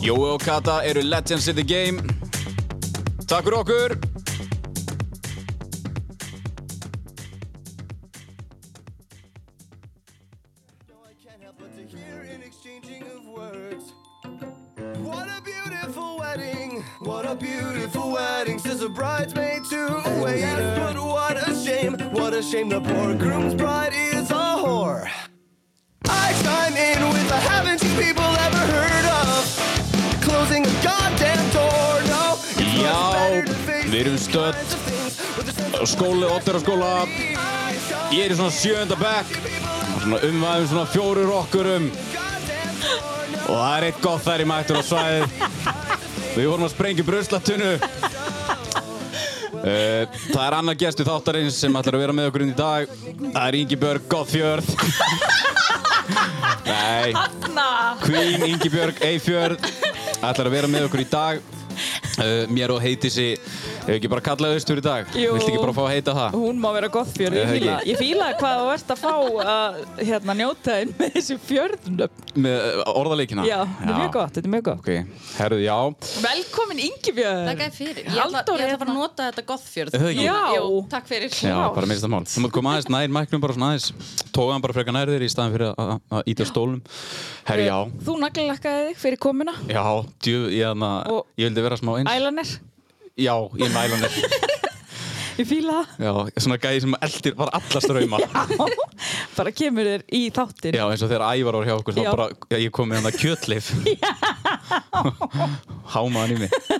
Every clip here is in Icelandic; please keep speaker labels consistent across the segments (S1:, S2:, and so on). S1: Jói og Kata eru legends in the game. Takk fyrir okkur!
S2: Can't help but to hear an exchanging of words. What a beautiful wedding! What a beautiful wedding! Says a bridesmaid to a waiter. Yes, but what a shame! What a shame! The poor groom's bride is a whore. I chime in with a haven't you people ever heard of? Closing a goddamn door. No, it's much
S1: Já,
S2: better to face
S1: við erum
S2: these
S1: stödd
S2: kinds of things with a sense
S1: á
S2: of
S1: skóla, Oddeyrarskóla.
S2: I chime
S1: Ég er í svona sjönda bekk, svona umvæðum svona fjóru rokkurum
S2: goddamn door. No,
S1: og það er eitt gott þær í mættur á svæðið. Við vorum að sprengja bruslatunnu. Uh, það er annar gestu þáttarins sem ætlar að vera með okkur inn í dag. Það er Ingibjörg Gottfjörð. Nei,
S3: Hanna
S1: Queen Ingibjörg Eifjörð ætlar að vera með okkur í dag uh, mér og heiti sig hefur ekki bara kallað austur í dag
S3: Jú.
S1: viltu ekki bara fá að heita það
S3: Hún má vera gott fjörð, ég
S1: Ég
S3: fíla
S1: ekki.
S3: Ég fíla hvað þú ert að fá að hérna, njóta þín með þessi fjörðnöfn
S1: með uh, orðaleikina
S3: Já, þetta er mjög gott, þetta er mjög gott
S1: ok, herðu já
S3: Velkomin Ingibjörn
S4: Takk að fyrir. Ég ætla,
S3: Halldór
S4: ég ætla
S3: hérna.
S4: bara að nota þetta Gothfjörð.
S1: Er það ekki?
S3: Já.
S4: Jú, takk fyrir.
S1: Já, bara meirist að mál. Þú mátt koma aðeins nær mæknum bara svona aðeins. Tóga hann bara frekar nær þér í staðan fyrir að- að- að íta stólum. Herri, já.
S3: Þú naglilakkaði þig fyrir komuna
S1: Já, djú, ég, hana,
S3: Og-
S1: ég vildi vera smá eins.
S3: Ælanir,
S1: Já, ég mæla hann.
S3: ég fíla það
S1: Já, svona gæði sem eldir bara alla ströyma.
S3: Bara kemur þér í þáttin
S1: Já, eins og þegar Ævar var hjá okkur, þá
S3: Já.
S1: bara, já, ég kom með hann að kjötlif. Hámaðan í mig.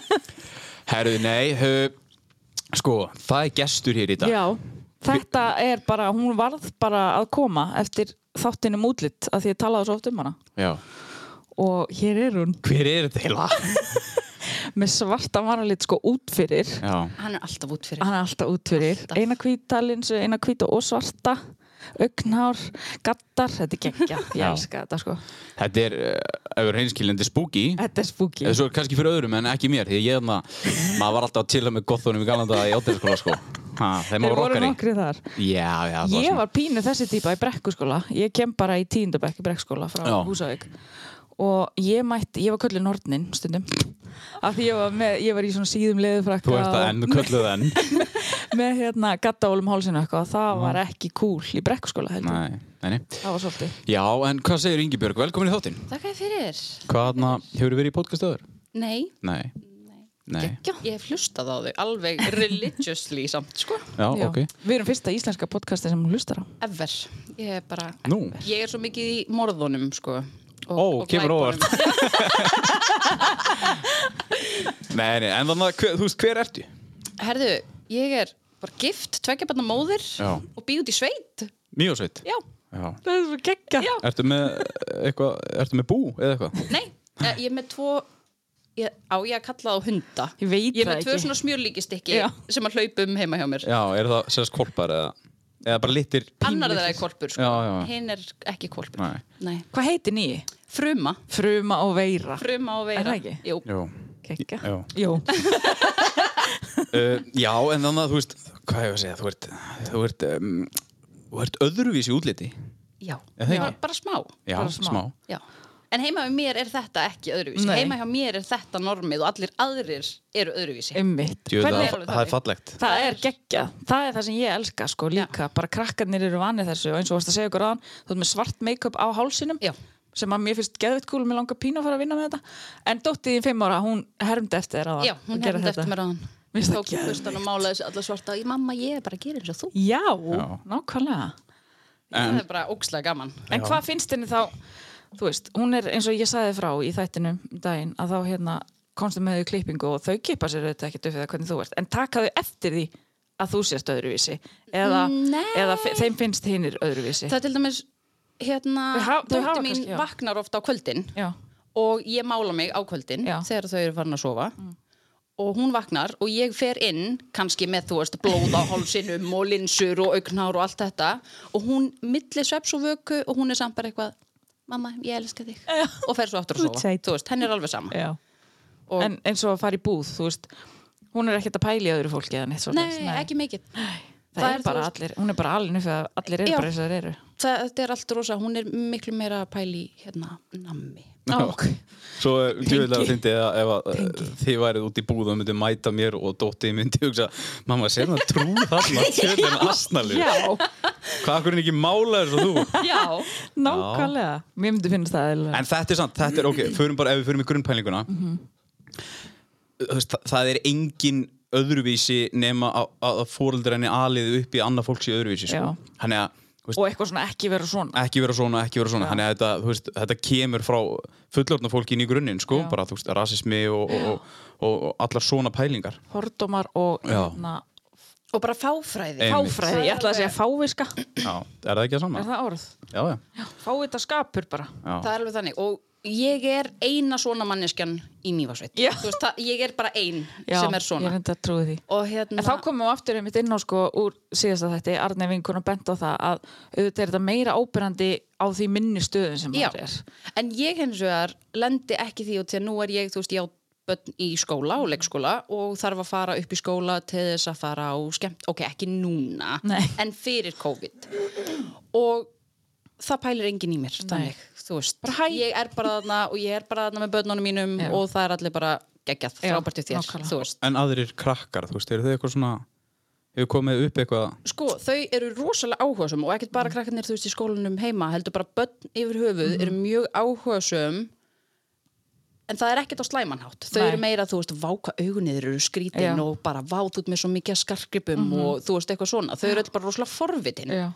S1: Herðu, nei, hö, sko, það er gestur hér í dag.
S3: Já, þetta er bara, hún varð bara að koma eftir þáttinum útlitt að því ég talaði svo oft um hana
S1: Já.
S3: og hér er hún
S1: Hver er þetta heila?
S3: með svarta varalit sko út fyrir
S1: Já,
S4: Hann er alltaf út fyrir.
S3: hann er alltaf út fyrir
S4: Alltaf.
S3: eina hvítalinsu, eina hvíta og svarta augnhár, gattar þetta er geggja, ég
S1: Já.
S3: elska þetta sko
S1: þetta er, eh, ef við erum reynskilindi, spooky.
S3: þetta er spooky
S1: Eða svo kannski fyrir öðrum en ekki mér Því að ég þarna, maður var alltaf til að með gotthunum í galanda í áttæðaskóla sko ha, Þeim
S3: þeir
S1: maður
S3: voru
S1: rockari
S3: nokkri þar
S1: Já, já, það
S3: ég
S1: svona-
S3: var pínu þessi típa í brekkuskóla ég kem bara í tíundabekk í brekkuskóla frá
S1: Já.
S3: Húsavík og ég mætti, ég var köllin hornin stundum af því ég var, með, ég var í svona síðum leðufrakka
S1: Þú ert það enn, kölluð enn
S3: með hérna gattaólum hálsinu eitthvað og það var ekki cool í brekkuskóla heldur,
S1: Nei, neini
S3: það var svolítið
S1: Já, en hvað segir Ingibjörg? Velkomin í þáttinn
S4: Takk að fyrir.
S1: Hvaðna, hefur verið í podcastöður?
S4: Nei,
S1: Nei Nei,
S4: já, ég hef hlustað á þau alveg religiously samt, sko.
S1: já,
S3: Já.
S1: ok
S3: við erum fyrsta íslenska podcasti sem hún hlustar á
S4: Ever. Ég er bara,
S1: Nú.
S4: ég er svo mikið í morðunum, sko.
S1: Ó, kemur
S4: glæpunum.
S1: Nei, nei, en þannig, hver, þú veist, hver ertu?
S4: Herðu, ég er bara gift, tveggja barna móðir
S1: Já.
S4: og býð út í sveit.
S1: Mjög sveit
S4: Já,
S1: Já
S3: það er svo geggja
S4: já.
S1: Ertu með eitthvað, ertu með bú eða eitthvað?
S4: Nei, eh, ég er með tvo ég, á ég að kalla þá hunda
S3: Ég veit
S4: ég er með
S3: það
S4: tvö
S3: ekki.
S4: svona smjörlíkistykki
S3: Já.
S4: sem að hlaupa um heima hjá mér
S1: Já, er það sérst kolpar eða? Eða bara littir
S4: annar þeirra er kolpur sko.
S1: Já, já.
S4: hinn er ekki kolpur
S1: Nei.
S3: Hvað heitir nýji?
S4: fruma,
S3: Fruma og veira.
S4: fruma og
S3: Er
S4: veira
S3: það ekki?
S4: Jú.
S1: Jú
S3: Kekka.
S1: Já.
S3: Jó.
S1: Uh, já, en þannig að þú veist, hvað ég að segja, þú ert, þú ert, um, þú ert öðruvísi í útliti.
S4: já,
S1: Er það ekki?
S4: Bara- bara smá
S1: Já,
S3: Bara smá.
S1: smá.
S4: já. en heima hjá mér er þetta ekki öðruvísi
S3: Nei.
S4: heima hjá mér er þetta normið og allir aðrir eru öðruvísi
S3: Einmitt.
S1: Jú, það,
S3: Hvernig
S4: er-
S1: það, er fallegt.
S3: Það er geggja. Það er það sem ég elska sko líka. Bara krakkarnir eru vanið þessu og eins og varst að segja ykkur aðan, þú ert með svart make-up á hálsinum
S4: Já.
S3: sem að mér finnst geðveitt kúl og mér langar pínu að fara að vinna með þetta. En dóttið þín fimm ára, hún hermdi eftir þér aðan.
S4: já, hún
S3: að gera
S4: hefði eftir
S3: þetta.
S4: mér að hann
S3: Mér finnst það
S4: tók hlustan og málaði sér alla svarta ég, mamma, ég er bara að gera eins og þú
S3: Já,
S1: Já.
S3: nákvæmlega.
S4: það er bara ókslega gaman
S3: En hvað finnst henni þá, þú veist, hún er eins og ég sagði frá í þættinu um daginn að þá hérna komstu með þau klippingu og þau kippa sér auðvitað ekkert upp við það hvernig þú ert en taka þau eftir því að þú sést öðruvísi eða,
S4: Nei.
S3: eða fi- þeim finnst hinnir öðruvísi
S4: það er til dæmis hérna,
S3: Þau ha- þau hafa
S4: dóttir mín
S3: kannski, já.
S4: vaknar ofta á kvöldin
S3: Já,
S4: og ég mála mig á kvöldin
S3: Já. Mm.
S4: þegar þau eru farin að sofa og hún vaknar og ég fer inn kannski með þú veist blóð á hálsinum og linsur og augnhár og allt þetta og hún milli sveps og vöku og hún er samt bara eitthvað mamma, ég elska þig og fer svo aftur að
S3: Þú ert
S4: sofa
S3: sæt.
S4: þú veist, henni er alveg sama
S3: Já.
S4: og,
S3: En eins og að fara í búð, þú veist, hún er ekkert að pæli öðru fólki eða neitt svo.
S4: nei, ekki mikið
S3: Það, er bara allir, hún er bara alinu fyrir að allir eru
S4: Já.
S3: bara eins og þeir eru.
S4: það, þetta er allt rosa, hún er miklu meira að pæli hérna, nammi
S1: Svo djúðilega fyndi að ef að eh, þið værið út í búð og myndi mæta mér og dóttið myndi hugsa Mamma, sér það trú þarna, djúðilega astnalið Hvað akkur er ekki málaður svo þú?
S4: já,
S3: nákvæmlega. Mér myndi finnst það eða.
S1: En þetta er samt, þetta er ok, förum bara, ef við förum í grunnpælinguna
S3: Mhm.
S1: Þú veist, það, það er engin öðruvísi nema að, að fóreldur henni aliði upp í annað fólks í öðruvísi sko.
S3: Já.
S1: Þannig að, þú veist,
S3: Og eitthvað svona ekki vera svona.
S1: ekki vera svona, ekki vera svona þannig að þetta, þú veist, þetta kemur frá fullorðna fólki inn í grunninn sko,
S3: Já.
S1: bara þú veist, rasismi og, og, og, og allar svona pælingar
S3: Hordómar og
S1: Já.
S3: hérna,
S4: og bara fáfræði
S1: Einmitt.
S3: fáfræði. Ég ætla að segja fáviska.
S1: Já, er það ekki að sama?
S3: Er það orð?
S1: Já, já, já.
S3: Fávita skapur bara.
S4: það er alveg þannig og ég er eina svona manneskjan í mýfarsveit
S3: Já.
S4: veist, það, ég er bara ein
S3: Já,
S4: sem er
S3: Ég
S4: svona
S3: reyndi að trúi því.
S4: og hérna
S3: En þá komum við aftur einmitt inn á sko úr síðasta þætti, Arne vinkunum bent á það að auðvitað er þetta meira ábyrjandi á því minni stöðum sem
S4: já,
S3: maður er.
S4: en ég hins vegar lendi ekki því og til að nú er ég þú veist, já börn í skóla og leikskóla og þarf að fara upp í skóla til þess að fara á skemmt, ok, ekki núna
S3: Nei.
S4: en fyrir COVID og það pælir enginn í mér þannig, þú veist, bara, ég er bara þarna og ég er bara þarna með börnunum mínum
S3: Já.
S4: og það er allir bara geggjað,
S3: Já,
S4: frábært í þér,
S3: nákvæmlega.
S4: þú veist
S1: En aðrir krakkar, þú veist, eru þau eitthvað svona hefur komið upp eitthvað
S4: sko, þau eru rosalega áhugasum og ekkert
S3: Mm.
S4: bara krakkarnir, þú veist, í skólanum heima heldur bara börn yfir höfuð eru
S3: Mm.
S4: mjög áhugasum en það er ekkert á slæmanhátt þau
S3: Nei.
S4: eru meira, þú veist, váka augunniður eru skrítin
S3: Já. Mhm.
S4: og bara váð út með svo mikið af skarkripum og þú veist, eitthvað svona þau eru öll bara rosalega forvitin
S3: Já.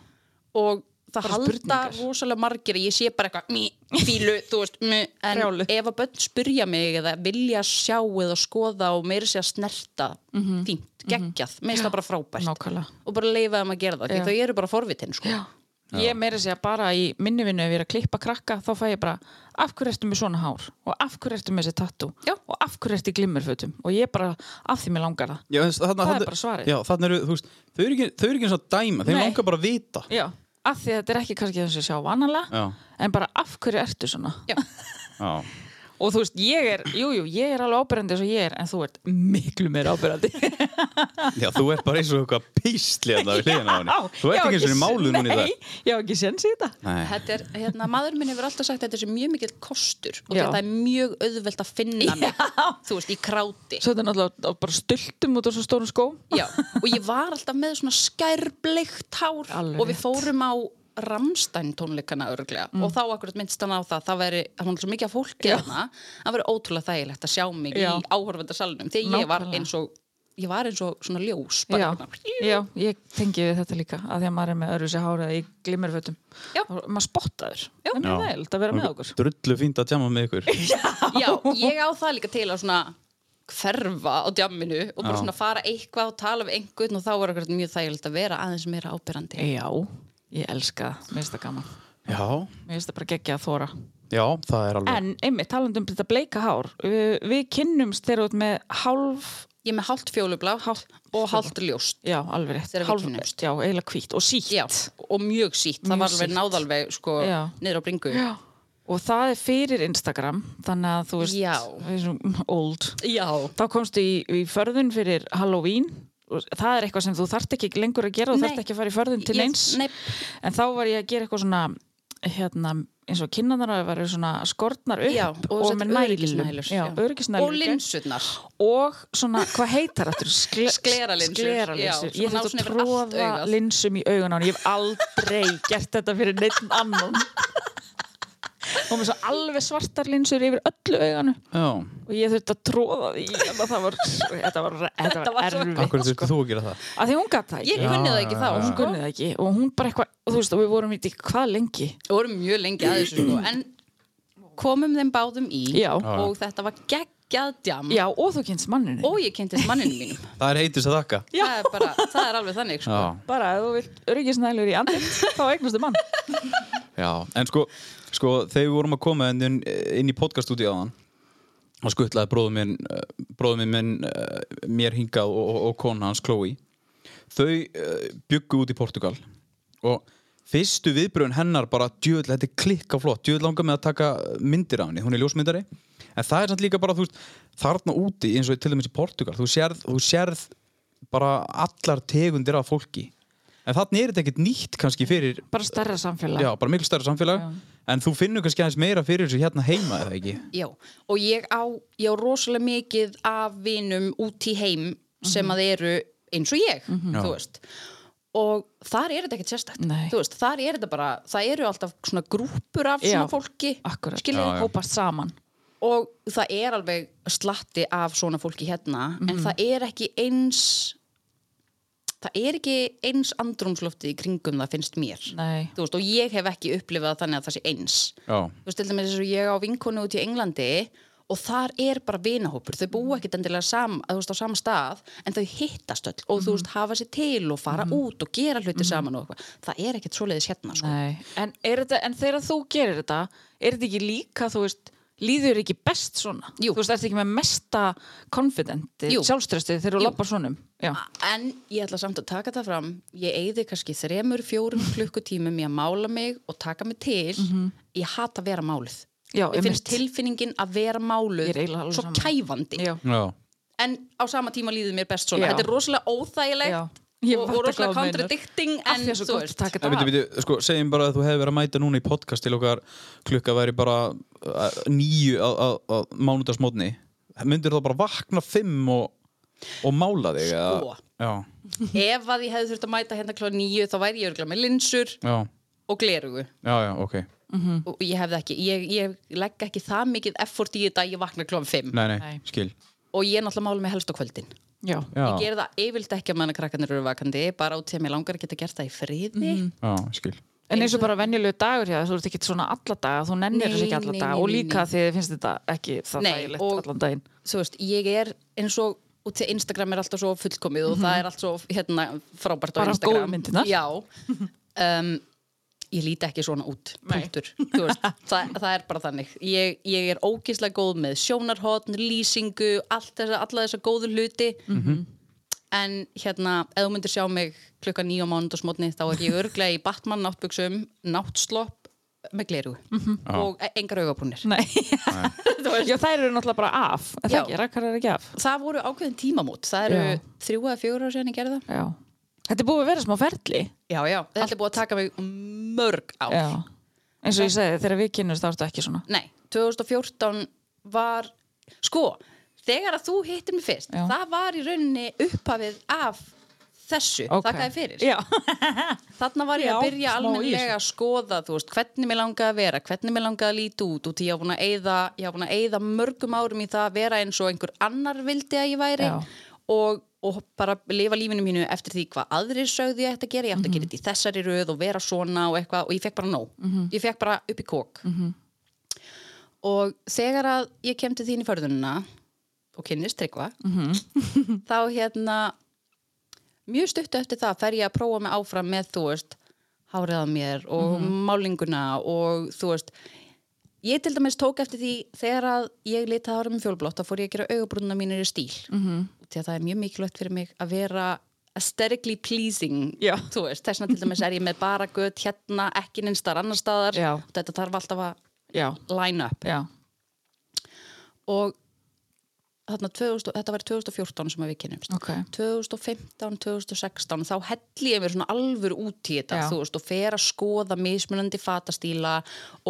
S4: og það
S3: Bara
S4: halda
S3: spurningar.
S4: rosalega margir að ég sé bara eitthvað mí, fílu, þú veist mí, en
S3: Brjáluð.
S4: ef að börn spyrja mig eða vilja sjá eða skoða og meira sé að snerta
S3: Mhm.
S4: fínt, geggjað, meðst það bara frábært
S3: Nákvæmlega.
S4: og bara leifa þeim að gera það,
S3: Já.
S4: því þau eru bara forvitin sko.
S3: Ég meira að segja bara í minni vinnu ef ég er að klippa krakka þá fæ ég bara af hverju ertu með svona hár og af hverju ertu með þessi tattu
S4: Já.
S3: og af hverju ertu í glimmerfötum og ég bara af því mér langar það.
S1: Já, þess, þarna,
S3: Það er
S1: þarna-
S3: bara svarið.
S1: Já, þannig eru, þú veist, þau eru ekki, þau eru ekki eins og að dæma þeim
S3: Nei.
S1: langar bara að vita
S3: Já. Af því að þetta er ekki kannski þess að sjá vanalega
S1: Já.
S3: en bara af hverju ertu svona.
S4: Já.
S1: Já,
S3: Og þú veist, ég er, jújú, jú, ég er alveg ábyrjandi eins og ég er en þú ert miklu meira ábyrjandi.
S1: já þú ert bara eins og eitthvað písli að það við hliðina á henni
S3: Já,
S1: Þú ert
S3: ég á
S1: ekki eins og í
S3: s-
S1: máluð núna í dag
S3: Nei, ég á ekki sens í þetta
S1: Nei,
S4: þetta er, hérna, maður minn hefur alltaf sagt að þetta er mjög mikill kostur og
S3: Já.
S4: þetta er mjög auðvelt að finna mig þú veist, í kráti
S3: Svo þetta er náttúrulega á- bara stultum út á svo stórum skóm
S4: Já, og ég var alltaf með svona skærbleikt hár
S3: Alveg
S4: og við
S3: rétt. Mm.
S4: fórum á Ramstein tónleikana örglega og þá akkurat minnst hann á það, það veri, það var svo mikið af fólki þarna, það veri ótrúlega þægilegt að sjá mig
S3: Já.
S4: í áhorfandasalunum þegar ég var
S3: Nákvæmlega.
S4: eins og, ég var eins og svona ljós
S3: Já,
S4: bara, hérna. svona.
S3: já, ég tengi við þetta líka að því að maður er með öðru sér hárað í glimmerfötum
S4: Já.
S3: og maður spottaður
S4: Já.
S3: Það er mjög nægild að vera með okkur
S1: Drullu fínt að tjama með ykkur
S4: Já, ég á það líka til að svona hverfa á djamminu og bara
S1: Já.
S4: svona fara eitthvað og tala við einhvern og þá er akkurat mjög þægilegt að vera aðeins meira ábyrrandi.
S3: Já, ég elska það, mér finnst það gaman
S1: Já,
S3: Mér finnst það bara geggja að þóra
S1: já, það er alveg
S3: En einmitt, talandi um þetta bleika hár Við, við kynnumst þeirra út með hálf
S4: Ég er með hálft fjólublá og hálft ljóst.
S3: Já, alveg rétt
S4: Þegar við
S3: hálf,
S4: kynnumst.
S3: Já, eiginlega hvít og sítt
S4: Já, og mjög sítt, það
S3: Mjög
S4: var alveg
S3: sítt.
S4: náðalveg sko
S3: Já.
S4: niður á bringu.
S3: Já. Og það er fyrir Instagram, þannig að þú veist,
S4: Já.
S3: við erum old.
S4: Já.
S3: Þá komstu í, í förðun fyrir Halloween og það er eitthvað sem þú þarft ekki lengur að gera og
S4: Nei.
S3: þarft ekki að fara í förðun til
S4: Ég-
S3: neins.
S4: nei.
S3: En þá var ég að gera eitthvað svona, hérna, eins og kynnanar að vera svona skortnar upp
S4: Já, og,
S3: og,
S4: sett
S3: með nælum.
S4: öryggisnælur.
S3: Já, öryggisnælur.
S4: Og
S3: í gegn.
S4: linsurnar.
S3: Og svona, hvað heitar þetta? Skle
S4: Skleralinsu.
S3: Skleralinsu.
S4: Já,
S3: Ég
S4: svona
S3: þurfti að
S4: ná svona yfir allt
S3: tróða
S4: augað.
S3: linsum í augun á hann. Ég hef aldrei gert þetta fyrir neitt annan. Og með svo alveg svartar linsur yfir öllu auganu.
S1: Já,
S3: Og ég þurfti að tróða því. En það var, þetta var, þetta var erfið.
S1: akkur þurfti þú að gera það
S3: Af því hún gæti það
S4: Ég
S3: ekki.
S4: kunni það ekki þá,
S3: Hún
S4: sko.
S3: kunni það ekki. Og hún bara eitthvað, og þú veist, og við vorum í því hvað lengi.
S4: Og vorum mjög lengi að þessu sko, en komum þeim báðum í
S3: Já.
S4: og þetta var geggjað djam
S3: Já, og þú kynst manninu.
S4: og ég kynntist manninu mínum.
S1: Það er heitis að þakka
S3: Já.
S4: Það er bara, það er alveg þannig sko.
S1: Já,
S3: Bara, ef þú vilt öryggisnælur í andinn, þá eignastu mann.
S1: Já, en sko, sko þegar við vorum að koma inn, inn- inn í podcaststúdíu á hann og skuttlaði bróðum minn, bróðum minn, minn eh, mér hingað og, og, og kona hans, Chloe þau uh, byggu út í Portugal og fyrstu viðbröðun hennar bara djöðl, þetta er klikka flott djöðl langar með að taka myndir af henni hún er ljósmyndari, en það er samt líka bara þú veist, þarna úti, eins og til dæmis í Portugal þú sérð, þú sérð bara allar tegundir af fólki en þarna er þetta ekkert nýtt kannski fyrir
S3: bara stærra samfélag
S1: Já, bara miklu stærra samfélag
S3: Já.
S1: En þú finnur kannski aðeins meira fyrir þessu hérna heima eða ekki
S4: Já, og ég á, ég á rosalega mikið af vinum út í heim sem að eru eins og ég, þú
S1: Já.
S4: veist. Og þar er þetta ekkert sérstætt,
S3: Nei.
S4: þú veist, þar er þetta bara, það eru alltaf svona grúpur af svona
S3: Já,
S4: fólki,
S3: akkurat.
S1: Já,
S4: skilur
S1: já.
S3: hópast saman
S4: og það er alveg slatti af svona fólki hérna, en það er ekki eins, það er ekki eins andrumsloftið í kringum það finnst mér.
S3: Nei.
S4: Þú veist, og ég hef ekki upplifað þannig að það sé eins
S1: Já,
S4: þú veist, til dæmis eins og ég á vinkonu út í Englandi og þar er bara vinahópur, þau búa ekkit endilega sam, að, þú veist, á sama stað en þau hittast öll og
S3: Mhm.
S4: þú veist, hafa sér til og fara út og gera hluti saman og eitthvað, það er ekkit svoleiðis hérna sko.
S3: Nei. en, er þetta, en þegar þú gerir þetta er þetta ekki líka, þú veist líður ekki best svona
S4: Jú.
S3: þú veist, ertu ekki með mesta konfidenti,
S4: Jú. Ah,
S3: sjálfströstið þegar þú lappar svonum já,
S4: en ég ætla samt að taka það fram ég eyði kannski þremur, fjórum klukkutímum í að mála mig og taka mig til ég hata að vera máluð
S3: Mhm. Já,
S4: ég finnst
S3: einmitt.
S4: tilfinningin að vera
S3: Ég er eiginlega
S4: máluð
S3: alveg
S4: svo
S3: sama.
S4: kæfandi
S3: já.
S1: já,
S4: en á sama tíma líður mér best svona
S3: Já.
S4: þetta er rosalega óþægilegt
S3: Já. Ég
S4: og,
S3: fatta hvað
S4: og rosalega
S3: þú meinar.
S4: contradicting
S3: Af
S4: en
S3: því að svo
S4: þú
S3: gott að
S4: veist,
S3: taka
S1: En
S3: þetta
S1: byrju,
S3: af.
S1: byrju, sko, segjum bara að þú hefði verið að mæta núna í podcast til okkar klukka væri bara uh, nýju á- á á mánudagsmótni Myndir þá bara vakna fimm og, og mála þig eða?
S4: Sko.
S1: Já,
S4: ef að ég hefði þurft að mæta hérna klá nýju þá væri ég örgulega með linsur
S1: já,
S4: og glerugu
S1: já, já, ok
S3: Mm.
S4: og ég hefði ekki, ég, ég legg ekki það mikið effort í þetta að ég vakna klá fimm
S1: Nei, nei,
S3: Nei.
S1: skil
S4: og ég er náttúrulega mála með helst á kvöldin
S3: Já.
S1: Já,
S4: ég ger það yfirlt ekki að manna krakkanir eru vakandi bara út til að mér langar að geta gert það í friði
S3: Mhm.
S1: já, skil
S3: en eins og bara venjulegu dagur hjá þér, þú ert ekki svona alla daga þú nennir
S4: Nei,
S3: þessu ekki alla
S4: nei,
S3: daga
S4: nei,
S3: og
S4: nei,
S3: líka því þið finnst þetta ekki það
S4: Nei,
S3: þægilegt
S4: og-
S3: allan daginn
S4: þú veist, ég er eins og út til Instagram er alltaf svo fullkomið og það er allt svo hérna,
S3: Mhm.
S4: frábært
S3: Bara
S4: á Instagram
S3: góðu myndirnar.
S4: Já um, Ég líti ekki svona út, punktur Þú veist, það, það er bara þannig ég, ég er ógislega góð með sjónarhotn, lýsingu allt þessa, alla þessa góðu hluti
S3: Mhm.
S4: En hérna, ef þú myndir sjá mig klukkan nýja á mánundasmotni þá er ég örglega í Batman náttbuksum náttslopp með gleru
S3: Mhm.
S4: og e, engar augabrúnir
S3: Nei, já þær eru náttúrulega bara af er það
S4: Já.
S3: ekki, rakkar eru ekki af
S4: það voru ákveðin tímamót það eru
S3: Já.
S4: þrjú eða fjóru ára sérna ég gerði það
S3: já. Þetta er búið að vera smá ferli
S4: já, já, þetta er búið að taka mig mörg ár
S3: Já. eins og ég segi, þegar við kynnumst þá ertu ekki svona
S4: nei, 2014 var sko, þegar að þú hittir mig fyrst
S3: Já.
S4: það var í rauninni upphafið af þessu,
S3: Ok.
S4: þakkaði fyrir
S3: Já,
S4: þarna var ég að
S3: Já, smá
S4: byrja
S3: í
S4: almennilega að skoða þú veist, hvernig mér langaði að vera, hvernig mér langaði að líti út út í ég á búin að eyða, ég á búin að eyða mörgum árum í það að vera eins og einhver annar vildi að ég væri
S3: Já.
S4: og, og bara lifa lífinu mínu eftir því hvað aðrir sögðu ég ætti að gera ég ætti
S3: Mhm.
S4: að gera þetta í þessari röð og vera svona og eitthvað og ég fekk bara nóg, ég fekk bara upp í kók
S3: Mhm.
S4: og þegar að ég kem til þín í förðununa og kynnist tryggva þá hérna mjög stuttu eftir það fer ég að prófa mig áfram með þú veist háriða mér og
S3: Mhm.
S4: málinguna og þú veist ég til dæmis tók eftir því þegar að ég litaði ára með fjólblótt þá fór ég að gera augabrúnuna mínir í stíl mm
S3: Mhm.
S4: -hmm. því að það er mjög mikilvægt fyrir mig að vera aesthetically pleasing
S3: Já.
S4: þú veist, þessna til dæmis er ég með bara gött hérna, ekki nynnstar annar staðar
S3: Já.
S4: þetta þarf alltaf að
S3: já,
S4: line up
S3: já
S4: og þarna 2000, þetta var 2014 sem að við kynnumst
S3: Ok.
S4: 2015, 2016 þá helli ég mér svona alvöru út í þetta
S3: Já.
S4: þú veist og fer að skoða mismunandi fatastíla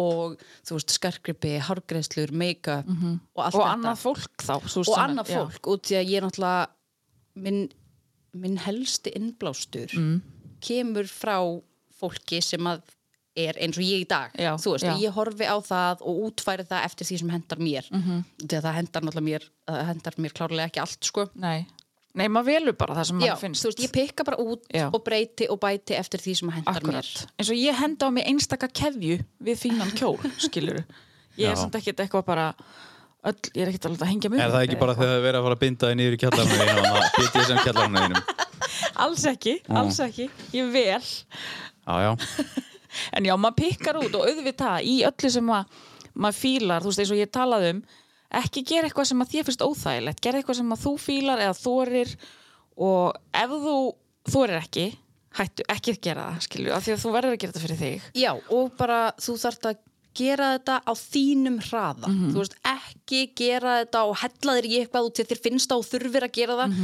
S4: og þú veist skarkrippi, hárgreðslur, make-up og allt
S3: Mhm. Og
S4: þetta
S3: annað fólk þá svo
S4: og
S3: sem-
S4: annað
S3: já.
S4: fólk út því að ég náttúrulega minn, minn helsti innblástur
S3: Mm.
S4: kemur frá fólki sem að er eins og ég í dag
S3: Já,
S4: þú veist,
S3: já.
S4: og ég horfi á það og útfæri það eftir því sem hendar mér -hmm.
S3: Mhm.
S4: því að það hendar náttúrulega mér það hendar mér klárlega ekki allt sko
S3: Nei, Nei maður velur bara það sem
S4: Já,
S3: maður finnst
S4: þú veist, ég pikka bara út
S3: Já.
S4: og breyti og bæti eftir því sem hendar
S3: Akkurat,
S4: mér
S3: eins og ég henda á mig einstaka kefju við fínan kjól, skilur Ég
S1: Já.
S3: er samt ekkert eitthvað bara öll, ég er ekkert alveg að hengja mig
S1: Er
S3: upp
S1: það ekki
S3: eða
S1: bara þegar það er verið að fara að binda þig niður í kjallarnu þínum BDSM kjallarnu þínum Mm.
S3: Alls ekki, alls ekki, ég vel
S1: Já, já
S3: en já, maður pikkar út og auðvitað í öllu sem að, maður fílar, þú veist eins og ég talaði um ekki gera eitthvað sem að þér finnst óþægilegt gera eitthvað sem að þú fílar eða þorir og ef þú þorir ekki, hættu ekki að gera það skilju, af því að þú verður að gera þetta fyrir þig
S4: Já, og bara þú þarft að gera þetta á þínum hraða
S3: Mhm.
S4: þú veist, ekki gera þetta og hella þér í eitthvað út til þér finnst það og þurfir að gera það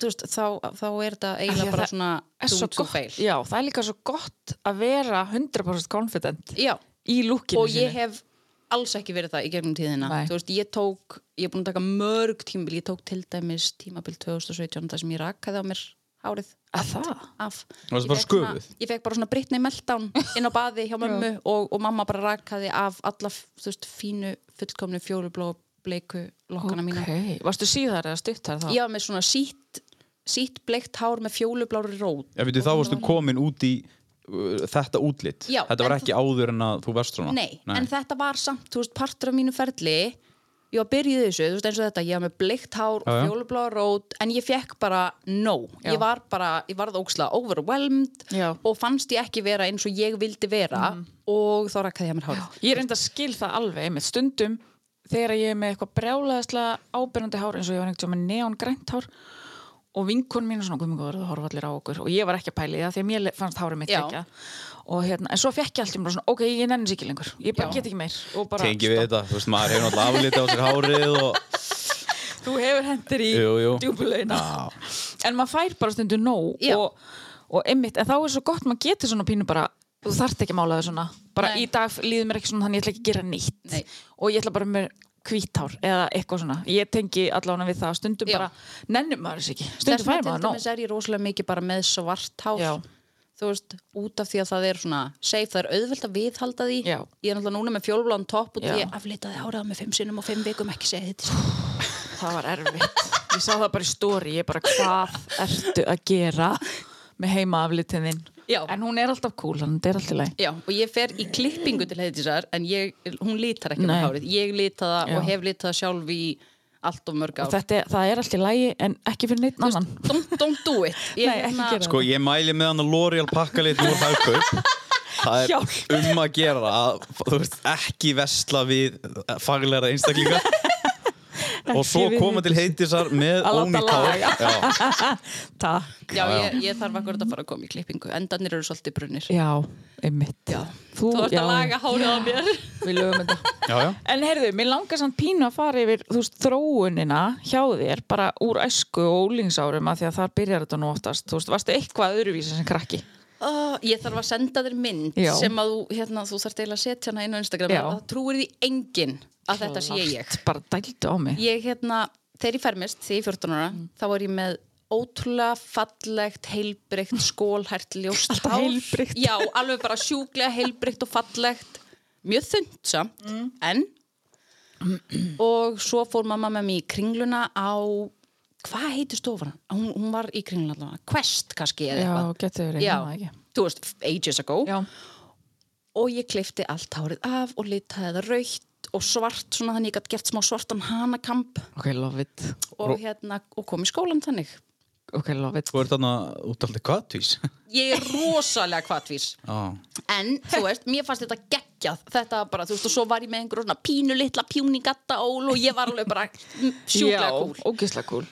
S4: þú veist, þá, þá er þetta
S3: Af því að
S4: eiginlega
S3: Mhm.
S4: bara
S3: það
S4: svona
S3: er svo
S4: doomed to
S3: gott-
S4: fail.
S3: Já, það er líka svo gott að vera 100% confident
S4: Já,
S3: í lúkinu
S4: og ég hef alls ekki verið það í gegnum tíðina
S3: Nei.
S4: þú veist, ég tók, ég er búin að taka mörg tímabil, ég tók til dæmis tímabil 2017 þar sem ég rakaði á mér hárið
S3: að það
S4: af
S1: Varstu
S4: Ég
S1: bara
S4: fekk svona-
S1: sköfuð?
S4: Ég fekk bara svona Britney meltdown inn á baði hjá mömmu og, og mamma bara rakaði af alla þú veist, fínu, fullkomnu fjólubló bleiku lokkana mína
S3: okay. Varstu síðar eða stuttar þá?
S4: Ég var með svona sítt, sítt bleikt hár með fjólublári rót
S1: Já, veitu, þá varstu komin út í uh, þetta útlitt.
S4: Já,
S1: þetta var
S4: en
S1: ekki áður en að þú verst svona.
S4: Nei, en þetta var samt, þú veist, partur af mínu ferli Ég var byrjuð í þessu, þú veist, eins og þetta Ég var með bleikt hár og
S1: Já, já.
S4: fjólubláa rót En ég fekk bara no
S3: Já.
S4: Ég var bara, ég varð ókslega overwhelmed
S3: Já. Mhm.
S4: Og fannst ég ekki vera eins og ég vildi vera Og þá rakkaði ég að mér hárið
S3: Ég er enda að skil það alveg einmitt stundum þegar ég er með eitthvað brjálaðislega ábyrjandi hár eins og ég var einhvern veginn með neongrænt hár og vinkun mín er svona guðmingur það horfa allir á okkur og ég var ekki að pæli það því að mér le- fannst hárið mitt
S4: Já.
S3: ekki og hérna, en svo fekk ég alltaf bara svona, ok, ég nenni sér ekki lengur ég bara get ekki meir og bara,
S1: Tengi við
S3: stopp.
S1: þetta, þú veist, maður hefur náttúrulega aflitið á sér hárið og...
S3: þú hefur hendur í
S1: Jú, jú.
S3: djúbulegina en maður fær bara stundu nóg
S4: Já.
S3: og, og einmitt, en þá er svo gott maður getur svona pínu bara þú þarft ekki að mála þau svona bara
S4: Nei.
S3: í dag líður mér ekki svona þannig ég ætla ekki að gera nýtt
S4: Nei.
S3: og ég ætla bara með hvítár eða eitthvað svona, ég tengi allavega við það stundum
S4: Já.
S3: bara, nennum maður þess ekki
S4: Þess
S3: stundum
S4: vegna
S3: fær
S4: til
S3: maður nóg
S4: dæmis er ég rosalega mikið bara með svart hár
S3: Já.
S4: þú veist, út af því að það er svona safe, það er auðvelt að viðhalda því
S3: Já.
S4: ég er náttúrulega núna með fjólbláðan topp og
S3: Já.
S4: ég aflitaði hárað með fimm sinnum og fimm vikum ekki segið þetta
S3: það var erfitt, ég sá það bara í stóri ég bara, hvað ertu að gera með heima aflitiðin
S4: Já.
S3: en hún er alltaf cool, hann er alltaf læg
S4: Já, og ég fer í klippingu til heiðisar en ég, hún lítar ekki
S3: Nei.
S4: með hárið ég lita það
S3: Já.
S4: og hef litað það sjálf í allt og mörg
S3: og
S4: ár
S3: þetta, er- það er alltaf í lægi en ekki fyrir neitt annan
S4: don't, don't do it ég,
S3: Nei, ekki
S4: hérna-
S3: gera
S1: Sko, ég mæli með hann að L'Oreal pakka lit úr hagkaup. Það er
S3: Hjálp.
S1: um að gera að, þú veist, ekki vesla við faglæra einstaklingar. og svo
S3: við
S1: koma til heitisar með
S3: Að láta
S1: ónýtt hár.
S3: laga.
S1: Já.
S3: Takk
S4: Já, ég, ég þarf akkur að fara að koma í klippingu endarnir eru svolítið brunir
S3: Já, einmitt já. Þú,
S4: Þú ert að laga hárið á mér
S3: Við lögum þetta
S1: já, já.
S3: En heyrðu, mér langar samt pínu að fara yfir þú veist, þróunina hjá þér bara úr æsku og ólingsárum að því að þar byrjar þetta nú oftast Þú veist, varstu eitthvað öðruvísi sem krakki
S4: Oh, ég þarf að senda þér mynd
S3: Já.
S4: sem að þú, hérna, þú þarft eiginlega að setja hana inn á Instagram
S3: Já.
S4: að það trúir því enginn að þetta sé ég.
S3: Allt Bara dældu á mig
S4: Ég hérna, þegar ég fermist, þegar ég er 14 ára,
S3: Mm.
S4: þá var ég með ótrúlega fallegt, heilbreykt, skólhært, ljóst
S3: Alltaf heilbrigt.
S4: Já, alveg bara sjúklega heilbreykt og fallegt. Mjög þund samt,
S3: Mm.
S4: en og svo fór mamma með mig í kringluna á hvað heitir stofan? Hún, hún var í kringluna allavega, Quest kannski eða
S3: Já,
S4: eitthvað
S3: getur verið ég man það
S4: já,
S3: ekki.
S4: þú veist, ages ago
S3: Já,
S4: og ég klifti allt hárið af og litaði það raukt og svart svona þannig ég gætt gert smá svartan hanakamp
S3: ok, love it
S4: og, hérna, og kom í skólan þannig
S3: Ok, love it
S1: Þú ert þarna út alltaf kvatvís.
S4: ég er rosalega kvatvís
S1: Já.
S4: en þú veist, mér fannst þetta geggjað þetta var bara, þú veist, og svo var ég með einhverjum svona pínu litla pjúningatta ól og ég var alveg bara mm, sjúklega
S3: Já,
S4: cool
S3: ógeðslega cool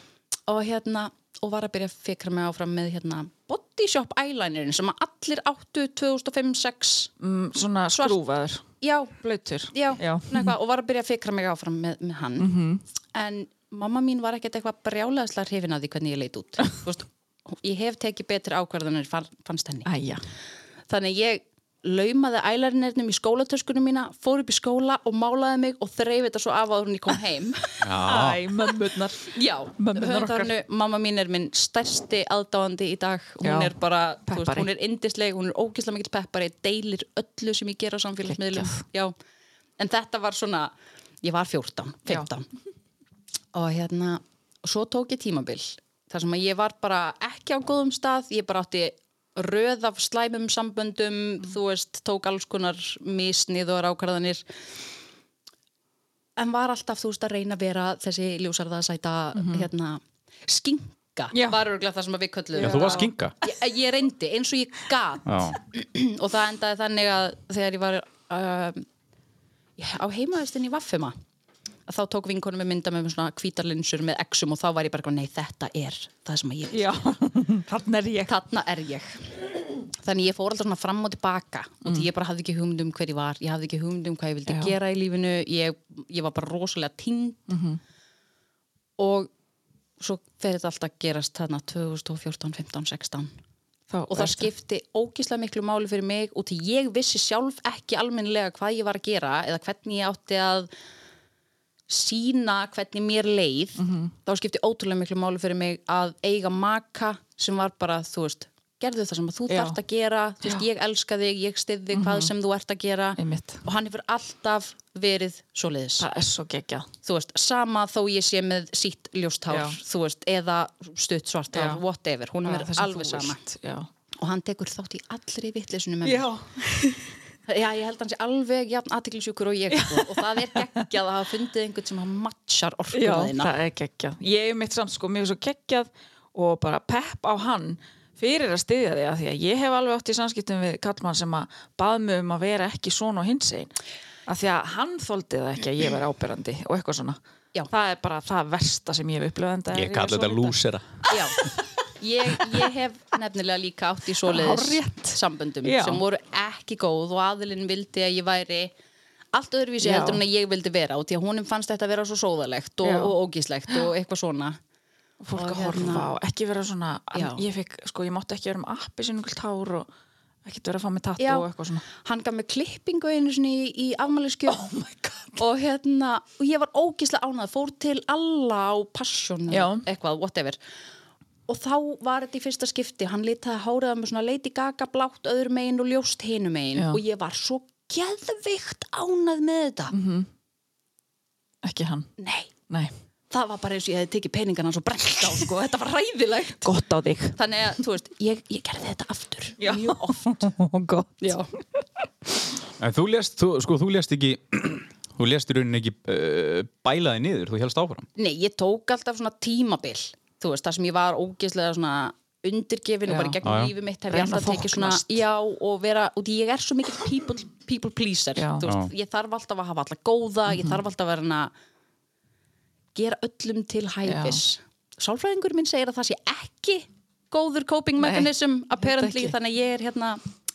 S4: og hérna, og var að byrja að fikra mig áfram með hérna Body Shop eyelinerin sem að allir áttu 2005-06
S3: mm, Svona
S4: Svart.
S3: skrúfaður,
S4: já,
S3: blöytur
S4: já,
S3: Já. Mhm.
S4: svona eitthvað, og var að byrja að fikra mig áfram með, með hann en mamma mín var ekkert eitthvað brjálaðislega hrifin að því hvernig ég leit út Þú veist, ég hef tekið betri ákvarðanir fann- fannst henni
S3: Æja,
S4: þannig ég laumaði ælarinnirnum í skólatöskunum mína fór upp í skóla og málaði mig og þreif þetta svo af áður en ég kom heim
S1: Já.
S3: æ, mömmunar
S4: Já,
S3: Mömmurnar okkar.
S4: höfundarinu, mamma mín er minn stærsti aðdáandi í dag hún
S3: Já,
S4: er bara, þú veist,
S3: peppari.
S4: hún er indisleg hún er ógislega mikill peppari, deilir öllu sem ég gera á samfélagsmiðlum
S3: Geggjað.
S4: Já, en þetta var svona ég var 14, 15 og hérna, svo tók ég tímabil þar sem að ég var bara ekki á góðum stað, ég bara átti röð af slæmum samböndum þú veist, tók alls konar misnið og rákarðanir en var alltaf þú veist að reyna að vera þessi ljósarða sæta hérna, skink skinka
S3: Já.
S4: var örgulega það sem við köllum
S5: En þú varst skinka
S4: ég, eh, ég reyndi eins og ég gat
S5: Já,
S4: og það endaði þannig að þegar ég var uh, á heimaðistinni í Vaffema að þá tók vinkonum með mynda með mér svona hvítarlinsur með exum og þá var ég bara, eitthvað, nei þetta er það sem að ég vil
S3: Já, þannig er ég
S4: þarna er ég þannig ég fór alltaf svona fram og tilbaka og því ég bara hafði ekki hugmynd um hver ég var ég hafði ekki hugmynd um hvað ég vildi
S3: Mm. Já.
S4: gera í lífinu ég, ég var bara rosalega tínd
S3: Mhm.
S4: og svo fer þetta alltaf að gerast þarna 2014, 15, 16
S3: Þá
S4: og það
S3: ertu-
S4: skipti ógíslega miklu máli fyrir mig og því ég vissi sjálf ekki almennilega hvað ég var að gera eða hvernig ég átti að sína hvernig mér leið
S3: Mhm.
S4: þá skipti ótrúlega miklu máli fyrir mig að eiga maka sem var bara, þú veist, gerðu það sem að þú
S3: Já. Mhm.
S4: þarft að gera, þú veist, ég elska þig ég styð þig hvað sem þú ert að gera
S3: Einmitt.
S4: og hann hefur alltaf verið svoleiðis
S3: Það er svo geggjað
S4: þú veist, sama þó ég sé með sítt ljósthár,
S3: Já.
S4: þú veist, eða stutt svartár,
S3: Já.
S4: whatever, hún
S3: Það
S4: er
S3: er það sem
S4: alveg
S3: þú
S4: sama
S3: vilt, Já,
S4: og hann tekur þátt í allri vittlesunum með mér. Já, ég held hann sé alveg jafn aðtiklisjúkur og ég sko. og það er geggjað að hafa fundið einhvern sem hann matchar
S3: Já,
S4: orkuna þína
S3: það er geggjað Ég er mitt samt sko, mér er svo geggjað og bara pepp á hann fyrir að styðja þig að því að ég hef alveg átt í samskiptum við kallmann sem að bað mig um að vera ekki svona og hins einn að því að hann þoldi það ekki að ég veri ábyrrandi og eitthvað svona
S4: Já.
S3: Það er bara það versta sem ég hef upplöðandi
S5: ég kalli þetta lúsera
S4: Já, ég, ég hef nefnilega líka átt í
S3: Hárrétt.
S4: svoleiðis samböndum
S3: Já.
S4: sem voru ekki góð og aðilinn vildi að ég væri allt öðruvísi
S3: Já.
S4: heldur en að ég vildi vera og því að húnum fannst þetta að vera svo sóðalegt og,
S3: Já.
S4: og ógíslegt og eitthvað svona
S3: fólk
S4: Og
S3: að
S4: hérna-
S3: horfa og ekki vera svona en
S4: Já.
S3: ég fikk, sko, ég mátti ekki vera með appi sinni ykkur tár og ekki vera að fá með tattu
S4: Já.
S3: og eitthvað svona
S4: hann gaf mig klippingu einu sinni í, í afmæliskjöf og hérna og ég var ógislega ánað, fór til alla á passion
S3: Já.
S4: eitthvað, whatever og þá var þetta í fyrsta skipti hann litaði háraða með svona Lady Gaga blátt öðru megin og ljóst hinu megin
S3: Já.
S4: og ég var svo geðveikt ánað með þetta
S3: Mhm. ekki hann,
S4: nei,
S3: nei,
S4: það var bara eins og ég hefði tekið peningana svo brengt á sko, þetta var ræðilegt
S3: gott á þig
S4: þannig að, þú veist, ég, ég gerði þetta aftur
S3: Já.
S4: mjög oft
S3: gott,
S4: Já.
S5: En þú lést, þú, sko, þú lést ekki Þú lést í rauninni ekki uh, bælaði niður, þú helst áfram
S4: Nei, ég tók alltaf svona tímabil þú veist, það sem ég var ógeðslega svona undirgefin og
S3: Já.
S4: bara í gegnum
S5: Já, já.
S4: lífið mitt hef ég
S3: Reyna
S4: alltaf
S3: að
S4: tekið svona
S3: þóknast.
S4: já, og vera, og því ég er svo mikil people, people pleaser,
S3: Já. Mhm.
S4: þú veist ég þarf alltaf að hafa alltaf góða, ég þarf alltaf að vera hana, gera öllum til hæfis sálfræðingur minn segir að það sé ekki góður coping
S3: Nei,
S4: mechanism apparently,
S3: ekki.
S4: þannig að ég er hérna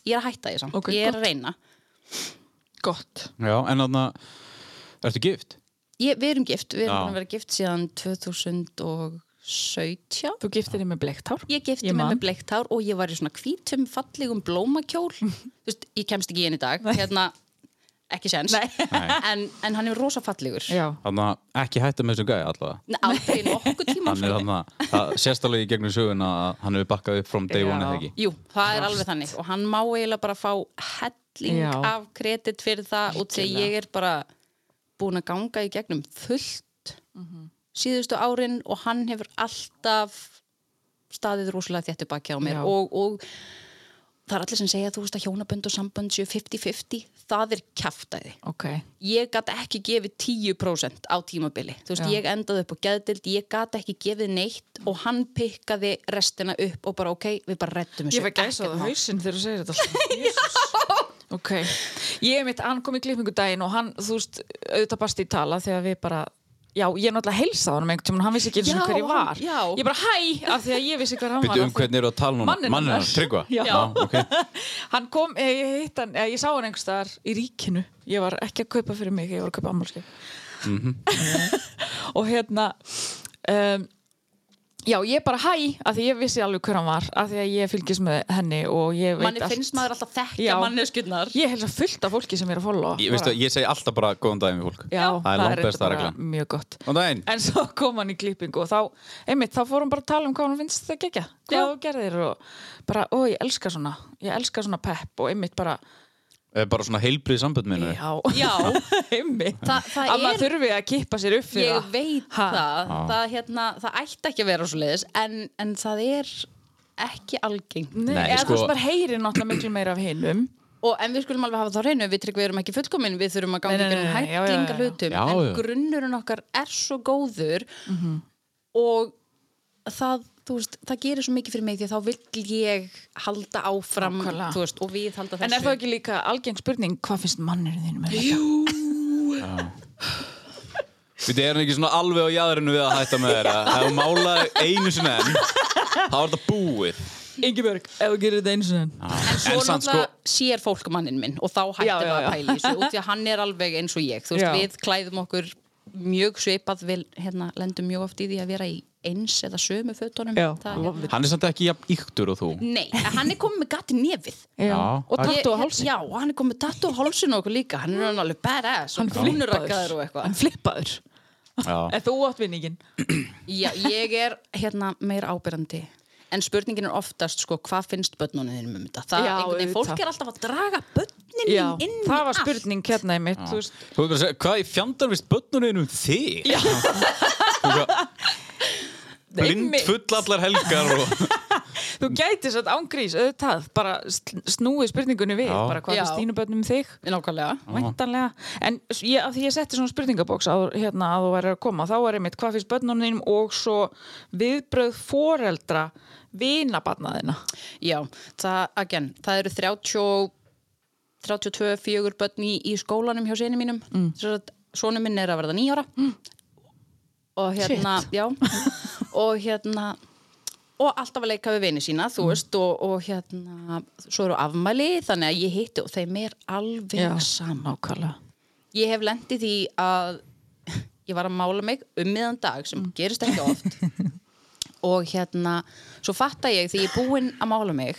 S4: ég er að hætta því samt,
S3: Ok,
S4: ég er
S3: gott.
S4: að reyna
S3: gott
S5: Já, en þarna, ertu gift?
S4: ég, við erum gift, við erum
S5: Já.
S4: búin að vera gift síðan 2017
S3: þú giftir þig með bleiktár
S4: Ég gifti
S3: Ég
S4: mig
S3: man.
S4: með bleikt hár og ég var í svona hvítum fallegum blómakjól Þú veist, ég kemst ekki í henni í dag hérna, ekki sens
S5: Nei.
S4: en, en hann er rosa fallegur
S3: já,
S5: Þarna, ekki hætta með þessu gæja allavega
S4: Nei, aldrei nokkuð tíma
S5: Hann er þarna, það sést alveg í gegnum söguna að hann hefur bakkað upp from day one eða ekki
S4: Jú, það er alveg þannig og hann má eiginlega bara fá helling
S3: Já.
S4: af kredit fyrir það og þegar ég er bara búin að ganga í gegnum fullt síðustu árin og hann hefur alltaf staðið rosalega þéttu baki á mér
S3: Já.
S4: og, og það er allir sem segja þú veist að hjónabönd og sambönd séu 50-50 það er kjaftaði
S3: ok,
S4: ég gat ekki gefið 10% á tímabili þú veist,
S3: Já.
S4: ég endaði upp á geðdild ég gat ekki gefið neitt og hann pikkaði restina upp og bara ok við bara rettum þessu
S3: ég fæ gæsa
S4: Ekkert
S3: það
S4: mál.
S3: hausinn þegar þú segir þetta Jesus. ok, ég er mitt hann kom í klippingu daginn og hann, þú veist auðvitað bast í tala þegar við bara já, ég náttúrulega heilsaði honum einhvern tímann hann vissi ekki eins
S4: Já,
S3: og hver ég
S4: hann-
S3: var
S4: já.
S3: ég bara hæ, af því að ég vissi hver hann var
S5: Byrju
S3: af
S5: um
S3: því-
S5: hvernig eru að tala núna
S3: Manninn
S5: Manninn
S3: hennar.
S5: hennar, tryggva
S3: Já.
S5: ok
S3: hann kom, eh, ég hitt hann, eh, ég sá hann einhverstaðar í ríkinu, ég var ekki að kaupa fyrir mig ég var að kaupa ammálski
S5: Mhm.
S3: og hérna um, já, ég bara hæ af því ég vissi alveg hver hann var af því að ég fylgist með henni og ég veit
S4: manni
S3: allt
S4: finnst maður alltaf
S3: Já.
S4: þekkja manneskjurnar
S3: ég helst að fullt af fólki sem ég er að followa
S5: Ég, veistu, ég segi alltaf bara góðan daginn við fólk
S3: já,
S5: Það er langt
S3: reyndar
S5: besta
S3: bara
S5: reglan.
S3: mjög gott
S5: Góðan daginn
S3: en svo kom hann í klippingu og þá, einmitt, þá fór hann bara að tala um hvað hann finnst það gegja, hvað þú gerðir og bara, ó, ég elska svona ég elska svona pepp og einmitt bara
S5: Eh, Bara svona heilbrið sambönd minn
S3: já,
S4: Já.
S3: einmitt
S4: Þa- það
S3: að maður
S4: er-
S3: þurfi að kippa sér upp fyrir
S4: ég
S3: það
S4: veit
S3: Ha.
S4: það það, hérna, það ætti ekki að vera svo leiðis en, en það er ekki algengt
S3: Nei,
S5: Nei,
S3: eða
S5: sko-
S3: þú veist, maður heyrir náttúrulega miklu meira af hinum
S4: og, en við skulum alveg hafa þá reynu við tryggum við erum ekki fullkomin, við þurfum að
S3: Nei,
S4: ganga
S3: nei,
S4: um
S3: nei, já, já,
S4: hætlinga
S3: já.
S4: hlutum
S5: Já,
S4: en
S5: já.
S3: Mhm.
S4: grunnurinn okkar er svo góður og það þú veist, það gerir svo mikið fyrir mig því að þá vill ég halda áfram
S3: Nákvæmlega.
S4: þú veist, og við halda þessu
S3: En er það ekki líka algeng spurning, hvað finnst mannurinn þínum? Jú.
S1: Við erum ekki svona alveg á jæðrinu við að hætta með þér að ef þú málaði einu sinni enn þá er þetta búið
S3: Ingibjörg, ef þú gerir þetta eins og enn.
S4: En
S1: En
S4: svo
S1: samt,
S4: náttúrulega sér fólk mannin minn og þá hættir
S3: Já, já,
S4: það að
S3: já.
S4: pæla í þessu út því að hann er alveg eins og ég þú veist,
S3: Já.
S4: við klæðum okkur mjög svipað við hérna, lendum mjög oft í því að vera í eins eða sömu fötunum
S3: Já,
S4: það, er hérna.
S5: Hann er samt ekki jafn yktur og þú
S4: Nei, en hann er komið með gati nefið
S3: Já. Og
S5: Ég-
S3: tattu á
S4: Ég-
S3: hálsin.
S4: Já, hann er komið með tattu á hálsinu okkur líka hann er hann alveg badass
S3: Hann
S4: og brúnurakkaður og
S3: flippaður.
S4: eitthvað
S3: Hann flippaður.
S5: Já.
S3: En þú átt vinningin.
S4: Já, ég er hérna meira ábyrrandi En spurningin er oftast sko, hvað finnst börnunum þínum um þetta?
S3: Já,
S4: Það, einhvern veginn,
S3: auðvitað.
S4: fólk er alltaf að draga börnin
S3: Já.
S4: mín inn í
S3: Það var
S4: allt.
S3: spurning hérna í mitt, þú veist.
S1: Þú veist að segja, hvað í fjandan vist börnunum um þig? Já Blind
S3: Einmitt.
S1: full allar helgar og
S3: Þú gæti satt ángrís, auðvitað, bara sl- snúið spurningunni við,
S5: Já.
S3: bara hvað
S4: Já.
S3: finnst þínu börnum um þig?
S4: Nákvæmlega
S3: Væntanlega, en s- ég, af því ég setti svona spurningabóks á, hérna, að þú væri að koma þá er einmitt hvað finnst börnunum þínum og svo viðbröð foreldra vinabarnaðina
S4: Já, það, again, það eru 30, 32 fjögur börn í, í skólanum hjá sinni mínum mm. Sónu minn er að verða nýjára mm. og hérna
S3: Shit.
S4: já, og hérna og alltaf að leika við vini sína þú veist og, og hérna svo eru afmæli þannig að ég hitti og þeim er alveg sama
S3: nákvæmlega
S4: ég hef lendið því að ég var að mála mig um miðan dag sem gerist ekki oft og hérna, svo fatta ég því ég er búin að mála mig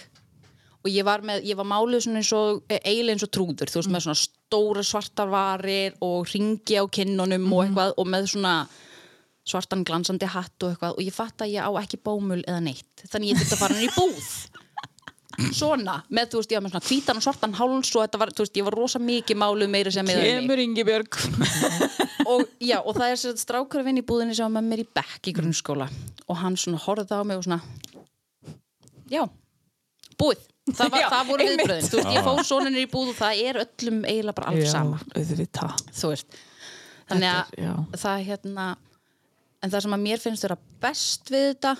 S4: og ég var, með, ég var máluð svona eins og e, eiginlega eins og trúður, þú veist með svona stóra svartar varir og ringi á kinnunum og eitthvað og með svona svartan glansandi hatt og eitthvað og ég fatta að ég á ekki bómul eða neitt þannig ég þurfti að fara hann í búð svona, með þú veist, ég var með svona hvítan og svartan háls og þetta var, þú veist, ég var rosa mikið máluð meira sem með
S3: Kemur Ingibjörg
S4: og, já, og það er sér strákur að vinna í búðinni sem var með mér í bekk í grunnskóla og hann svona horfði á mig og svona já, búið það, var,
S3: Já,
S4: það voru
S3: einmitt.
S4: viðbröðin, þú veist, ég fór sonunir í búð og það er öllum eiginlega bara alveg sama
S3: auðvitað
S4: þú veist þannig
S3: Þetta er- já.
S4: að það hérna en það sem að mér finnst vera best við þetta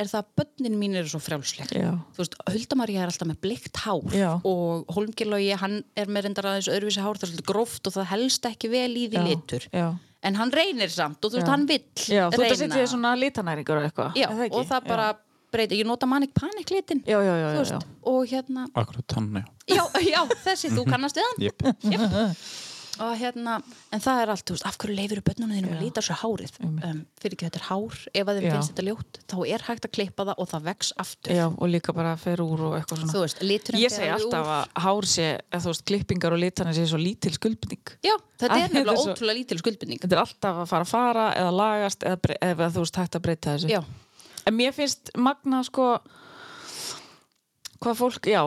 S4: er það að börnin mín eru svo frjálsleg
S3: Já.
S4: þú veist, Huldamaríja er alltaf með blikt hár
S3: Já.
S4: og Holmgilói, hann er með reyndar aðeins öðruvísi hár, það er svolítið gróft og það helst ekki vel í því
S3: Já,
S4: litur
S3: já.
S4: en hann reynir samt og þú veist,
S3: Já.
S4: hann vill
S3: Já, þú ert að setja
S4: reyna
S3: þér svona litanæringur og eitthvað
S4: já,
S3: er það ekki?
S4: og það bara breytir, ég nota manic panic litin
S3: Já, já, já, já,
S4: þú veist, og hérna
S5: Akkurat hann, já
S4: já, já, þessi, þú kannast við hann
S5: Jep.
S4: og hérna, en það er allt, þú veist, af hverju leifir bönnunum þínum að líta svo hárið um, fyrir ekki þetta er hár, ef að þeim
S3: Já.
S4: finnst þetta ljótt þá er hægt að klippa það og það vex aftur
S3: já, og líka bara fer úr og eitthvað svona
S4: þú veist, liturinn
S3: Ég segi
S4: fer alveg
S3: alltaf
S4: úr.
S3: að hár sé, eða þú veist, klippingar og litanir sé svo lítil skuldbinding
S4: já, þetta
S3: Æ,
S4: er nefnilega
S3: þetta er svo-
S4: ótrúlega lítil skuldbindning
S3: Þetta er alltaf að fara að fara eða lagast eða, bre- eða þú veist hægt að breyta þessu
S4: já,
S3: En mér finnst magna sko hvað fólk, já,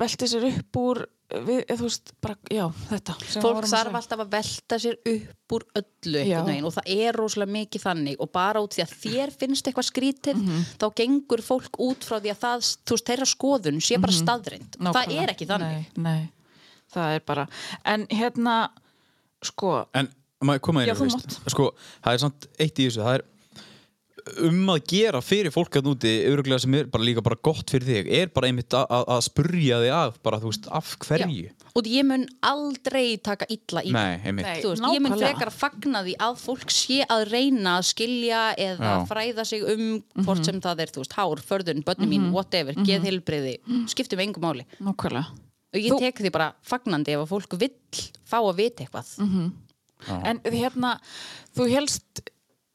S3: velti sér upp úr við, eða þú veist, bara, já, þetta sem við
S4: fólk
S3: vorum að
S4: þarf
S3: segja.
S4: alltaf að velta sér upp úr öllu
S3: Já.
S4: einhvern veginn og það er rosalega mikið þannig og bara út því að þér finnst eitthvað skrítið
S3: Mhm.
S4: þá gengur fólk út frá því að það, þú veist, þeirra skoðun sé bara staðrind það
S3: Mhm. Nákvæmlega.
S4: er ekki þannig
S3: nei, nei, það er bara En hérna, sko
S5: En maður koma
S3: Já,
S5: einu,
S3: þú
S5: sko, það er samt eitt í þessu, það er um að gera fyrir fólk að núti öruglega sem er bara líka bara gott fyrir þig er bara einmitt að, að- að spurja þig af bara þú veist, af hverju
S4: Já. og ég mun aldrei taka illa í
S5: Nei, einmitt
S3: Nei.
S4: Þú veist, ég mun
S3: nákvæmlega.
S4: frekar að fagna því að fólk sé að reyna að skilja eða
S5: Já.
S4: fræða sig um
S3: Mhm.
S4: hvort sem það er, þú veist, hár, förðun, börnum mín, whatever, geðheilbriði, skiptum engum máli.
S3: Nákvæmlega
S4: Og ég tek því bara fagnandi ef að fólk vill fá að vita eitthvað.
S3: En hérna, þú helst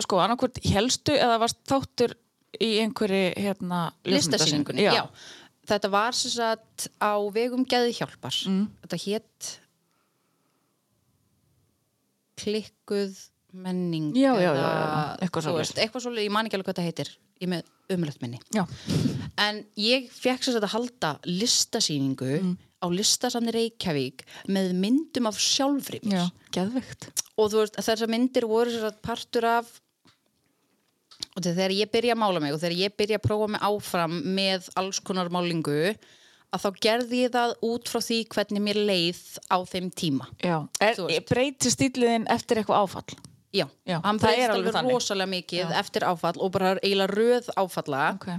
S3: sko, annarkvort helstu eða varst þáttur í einhverju hérna, ljósmyndasýningu?
S4: listasýningunni, já. Þetta var sem sagt á vegum geði hjálpar.
S3: Mm.
S4: Þetta hétt klikkuð menning
S3: Já, já, já, já,
S4: eða,
S3: já, eitthvað
S4: þú
S3: svoleiðis.
S4: veist, eitthvað svolítið, ég man ekki alveg hvað það heitir ég er með umlöft minni
S3: Já.
S4: en ég fekk sem sagt að halda listasýningu
S3: Mm.
S4: á listasafni Reykjavík með myndum af sjálfri mér
S3: Já, geðveikt.
S4: og þú veist, þessar myndir voru sem sagt partur af og þetta er þegar ég byrja að mála mig og þegar ég byrja að prófa mig áfram með alls konar málingu að þá gerði ég það út frá því hvernig mér leið á þeim tíma
S3: Já. Er,
S4: Þú veist.
S3: breytir stíliðin eftir eitthvað áfall?
S4: Já,
S3: Já,
S4: hann
S3: það er
S4: breytist
S3: alveg
S4: alveg
S3: þannig.
S4: rosalega mikið
S3: Já.
S4: eftir áfall og bara eiginlega röð áfalla
S3: ok,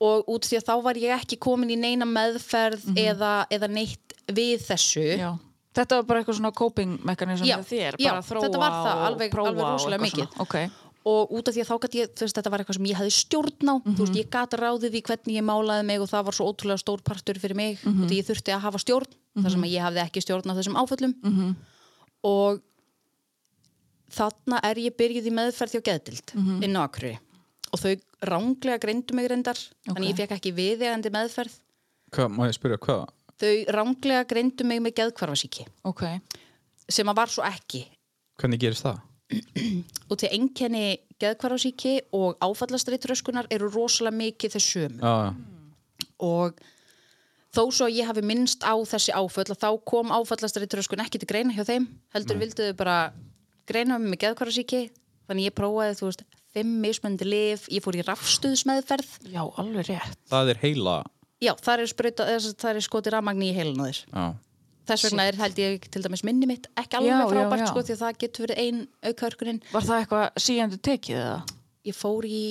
S4: og út því að þá var ég ekki komin í neina meðferð
S3: Mhm.
S4: eða, eða neitt við þessu.
S3: já Þetta var bara eitthvað svona coping mekanism
S4: Já,
S3: hjá þér,
S4: já,
S3: bara að þróa
S4: þetta var það,
S3: og
S4: alveg-
S3: prófa
S4: alveg
S3: og eitthvað
S4: rosalega mikið.
S3: svona. Ok.
S4: og út af því að þá gæti ég, þú veist, þetta var eitthvað sem ég hefði stjórn á, þú veist, ég gæti ráðið í hvernig ég málaði mig og það var svo ótrúlega stór partur fyrir mig, mm því ég þurfti að hafa stjórn þar sem að ég hafði ekki stjórn á þessum áföllum -hmm. og þarna er ég byrjuð í meðferð hjá geðdild inn á Akri og þau ránglega greindu mig reyndar þannig ég fekk ekki viðegandi meðferð
S5: Hvað, má ég spyrja, hvað?
S4: þau ránglega greindu mig með geðkvarfasíki
S3: Ok,
S4: sem að var svo ekki
S5: Hvernig gerist það?
S4: og til einkenni geðkvarfasíki og áfallastreitröskunar eru rosalega mikið þessum sömu
S5: Já, já.
S4: og þó svo að ég hafi minnst á þessi áföll að þá kom áfallastari tröskun ekki til greina hjá þeim
S3: Mm.
S4: heldur vildu þau bara greina mig með geðkvarasíki þannig ég prófaði þú veist fimm mismöndi lif, ég fór í rafstuðsmeðferð
S3: já, alveg rétt
S5: það er heila.
S4: já, þar er, sprauta, eða sem sagt, þar er skoti rafmagni í heilinu þér
S5: Já.
S4: þess vegna er held ég til dæmis minni mitt ekki alveg
S3: Já, já,
S4: frábært
S3: já.
S4: sko því að það getur verið ein aukörkunin
S3: Var það eitthvað síðandi tekið eða?
S4: ég fór í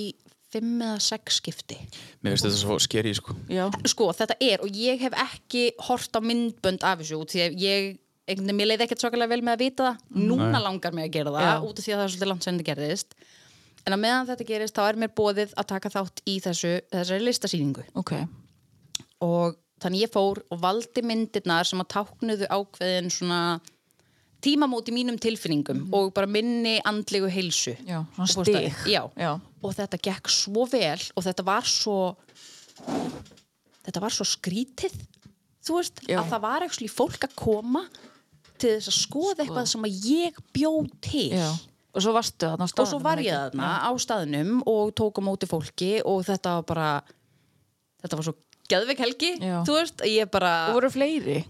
S4: fimm eða sex skipti
S5: Mér finnst þetta svo skeri, sko.
S3: Já,
S4: sko, þetta er og ég hef ekki hort á myndbönd af þessu út því að ég, einhvern veginn, mér leiði ekkert svakalega vel með að vita það, núna langar mér að gera það
S3: Já.
S4: út af því að það er svolítið langt sem þetta gerðist en að meðan þetta gerist þá er mér bóðið að taka þátt í þessu, þessari listasýningu
S3: ok
S4: og þannig ég fór og valdi myndirnar sem að táknuðu ákveðin svona tímamót í mínum tilfinningum og bara minni andlegu heilsu
S3: Mhm. Já, svona
S4: Og fórstu að-
S3: stig.
S4: já.
S3: Já.
S4: og þetta gekk svo vel og þetta var svo þetta var svo skrítið þú veist,
S3: Já.
S4: að það var ekki fólk að koma til þess að skoða eitthvað sem að ég bjó til
S3: Sko. já. Og svo varstu þarna á
S4: og svo
S3: staðnum,
S4: var ég
S3: ekki?
S4: þarna á staðnum og tók á móti fólki og þetta var bara þetta var svo geðveik helgi
S3: Já.
S4: þú veist, ég bara
S3: Og voru fleiri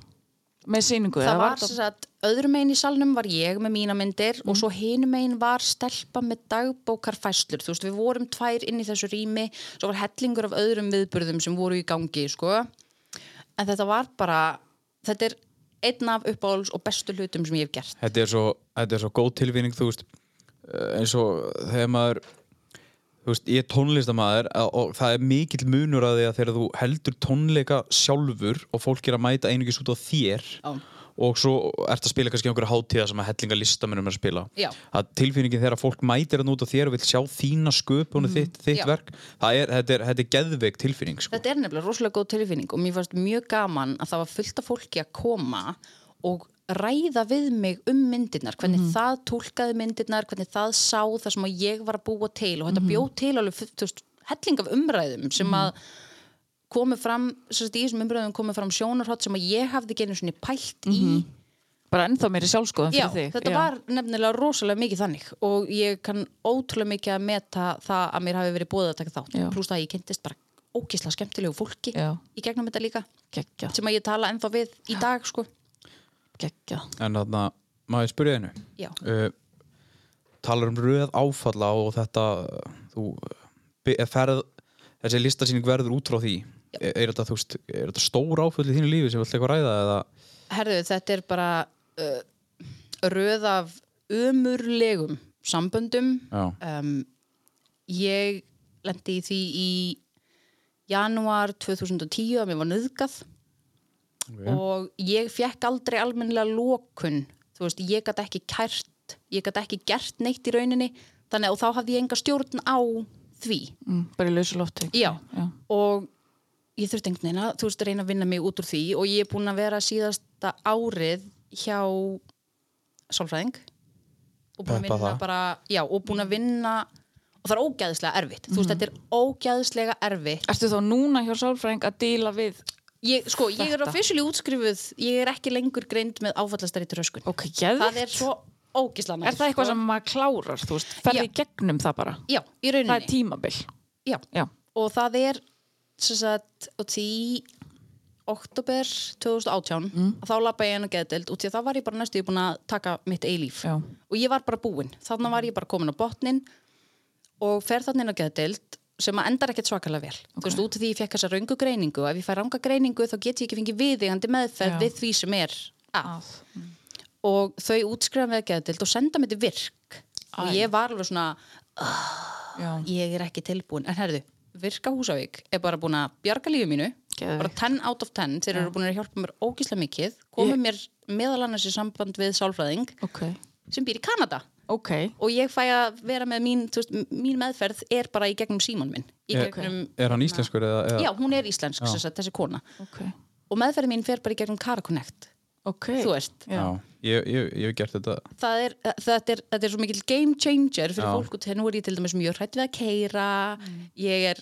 S3: með sýningu
S4: það
S3: eða
S4: var
S3: þetta- Mhm.
S4: sem sagt, öðrum einn í salnum var ég með mína myndir og svo hinum einn var stelpa með dagbókarfæslur þú veist, við vorum tvær inn í þessu rými svo var hellingur af öðrum viðburðum sem voru í gangi, sko en þetta var bara, þetta er einn af uppáhalds og bestu hlutum sem ég hef gert
S5: þetta er svo, þetta er svo góð tilfinning þú veist eh, eins og þegar maður þú veist, ég er tónlistamæður og það er mikill munur að því að þegar þú heldur tónleika sjálfur og fólk er að mæta einungis út á þér
S4: Já.
S5: og svo ert að spila kannski einhverja hátíða sem að hellinga listamennum er að spila
S4: Já.
S5: að tilfinningin þegar að fólk mætir að út á þér og vil sjá þína sköpun og þitt, þitt
S4: Mhm. Já.
S5: verk það er, þetta, er, þetta er geðveik tilfinning sko.
S4: Þetta er nefnilega rosalega góð tilfinning og mér fannst mjög gaman að það var fullt af fólki að koma og ræða við mig um myndirnar, hvernig það tólkaði myndirnar, hvernig það sá það sem að ég var að búa til og þetta mm bjó til alveg fu- þú veist, helling af umræðum sem að komu fram, sem sagt í þessum umræðum komu fram sjónarhótt sem að ég hafði genið svona pælt í
S3: Bara ennþá meiri sjálfskoðum
S4: Já,
S3: fyrir þig
S4: þetta var nefnilega rosalega mikið þannig og ég kann ótrúlega mikið að meta það að mér hafi verið búið að taka þátt
S3: Já.
S4: pluss það að ég kynntist bara ókislega skemmtilegu fólki
S3: Já.
S4: í gegnum þetta líka
S3: Gekja,
S4: sem að ég tala ennþá við í dag sko.
S3: gekja
S5: en þarna, maður spurði einu
S4: Já.
S5: uh, talar um röð áfalla og þetta uh, þú uh, be- eh, ferð þessi listasýning verður út frá því er, er þetta, þú veist, er þetta stór áföll í þínu lífi sem við ætlum eitthvað að ræða eða
S4: Herðu, þetta er bara uh, röð af ömurlegum samböndum
S5: já,
S4: um, ég lendi í því í janúar 2010 að mér var nöðgað og ég fekk aldrei almennilega lokun þú veist, ég gæti ekki kært ég gæti ekki gert neitt í rauninni þannig að og þá hafði ég enga stjórn á því
S3: mm, Bara í lausu lofti
S4: já,
S3: já.
S4: og ég þurfti einhvern veginn að þú veist, reyna að vinna mig út úr því og ég er búin að vera síðasta árið hjá sálfræðing og búin að
S5: Peppa
S4: vinna
S5: það.
S4: bara, já, og búin að vinna og það er ógæðislega erfitt þú veist, þetta er ógæðislega erfitt
S3: Ertu þá núna hjá sálfræðing að díla við
S4: ég, sko, ég er
S3: Þetta.
S4: officially útskrifuð ég er ekki lengur greind með áfallastari tröskun
S3: Ok, geðvikt
S4: það er svo ógæðislega
S3: Er það eitthvað sem maður klárar, þú veist, ferði í gegnum það bara?
S4: já, í rauninni
S3: Það er tímabil.
S4: Já.
S3: Já.
S4: og það er sem sagt, og því oktober 2018
S3: Mm.
S4: að þá lappa ég inn á geðdeild og því að það var ég bara næstu búin að taka mitt eilíf
S3: Já.
S4: og ég var bara búin, þannig var ég bara komin á botnin og fer þannig inn á geðdeild sem að endar ekkert svakalega vel þú veist, út af því ég fekk þessa raungu greiningu og ef ég fær ranga greiningu þá get ég ekki fengið viðegandi meðferð
S3: Já.
S4: við því sem er að
S3: Að.
S4: og þau útskrifa með geðdeild og senda mér til virk og ég var alveg svona,
S3: já,
S4: ég er ekki tilbúin en herðu, Virka Húsavík er bara búin að bjarga lífið mínu
S3: Geðveikt.
S4: bara 10 out of 10, þeir eru búin að hjálpa mér ógislega mikið, komið mér meðal annars í samband við sálfræðing
S3: ok,
S4: sem býr í Kanada
S3: ok
S4: og ég fæ að vera með mín, þú veist, mín meðferð er bara í gegnum síman minn í
S5: Er-
S4: gegnum,
S5: Er hann íslenskur eða? eða?
S4: já, hún er íslensk sem sagt, þessi kona,
S3: ok,
S4: og meðferð mín fer bara í gegnum Karakonnect,
S3: ok
S4: þú veist
S5: Já. Ég, ég, ég hef gert þetta.
S4: það er, eh, þetta er, þetta er svo mikill game changer fyrir
S5: Já.
S4: fólk og þegar nú er ég til dæmis mjög hrætt við að keira
S3: Mm.
S4: ég er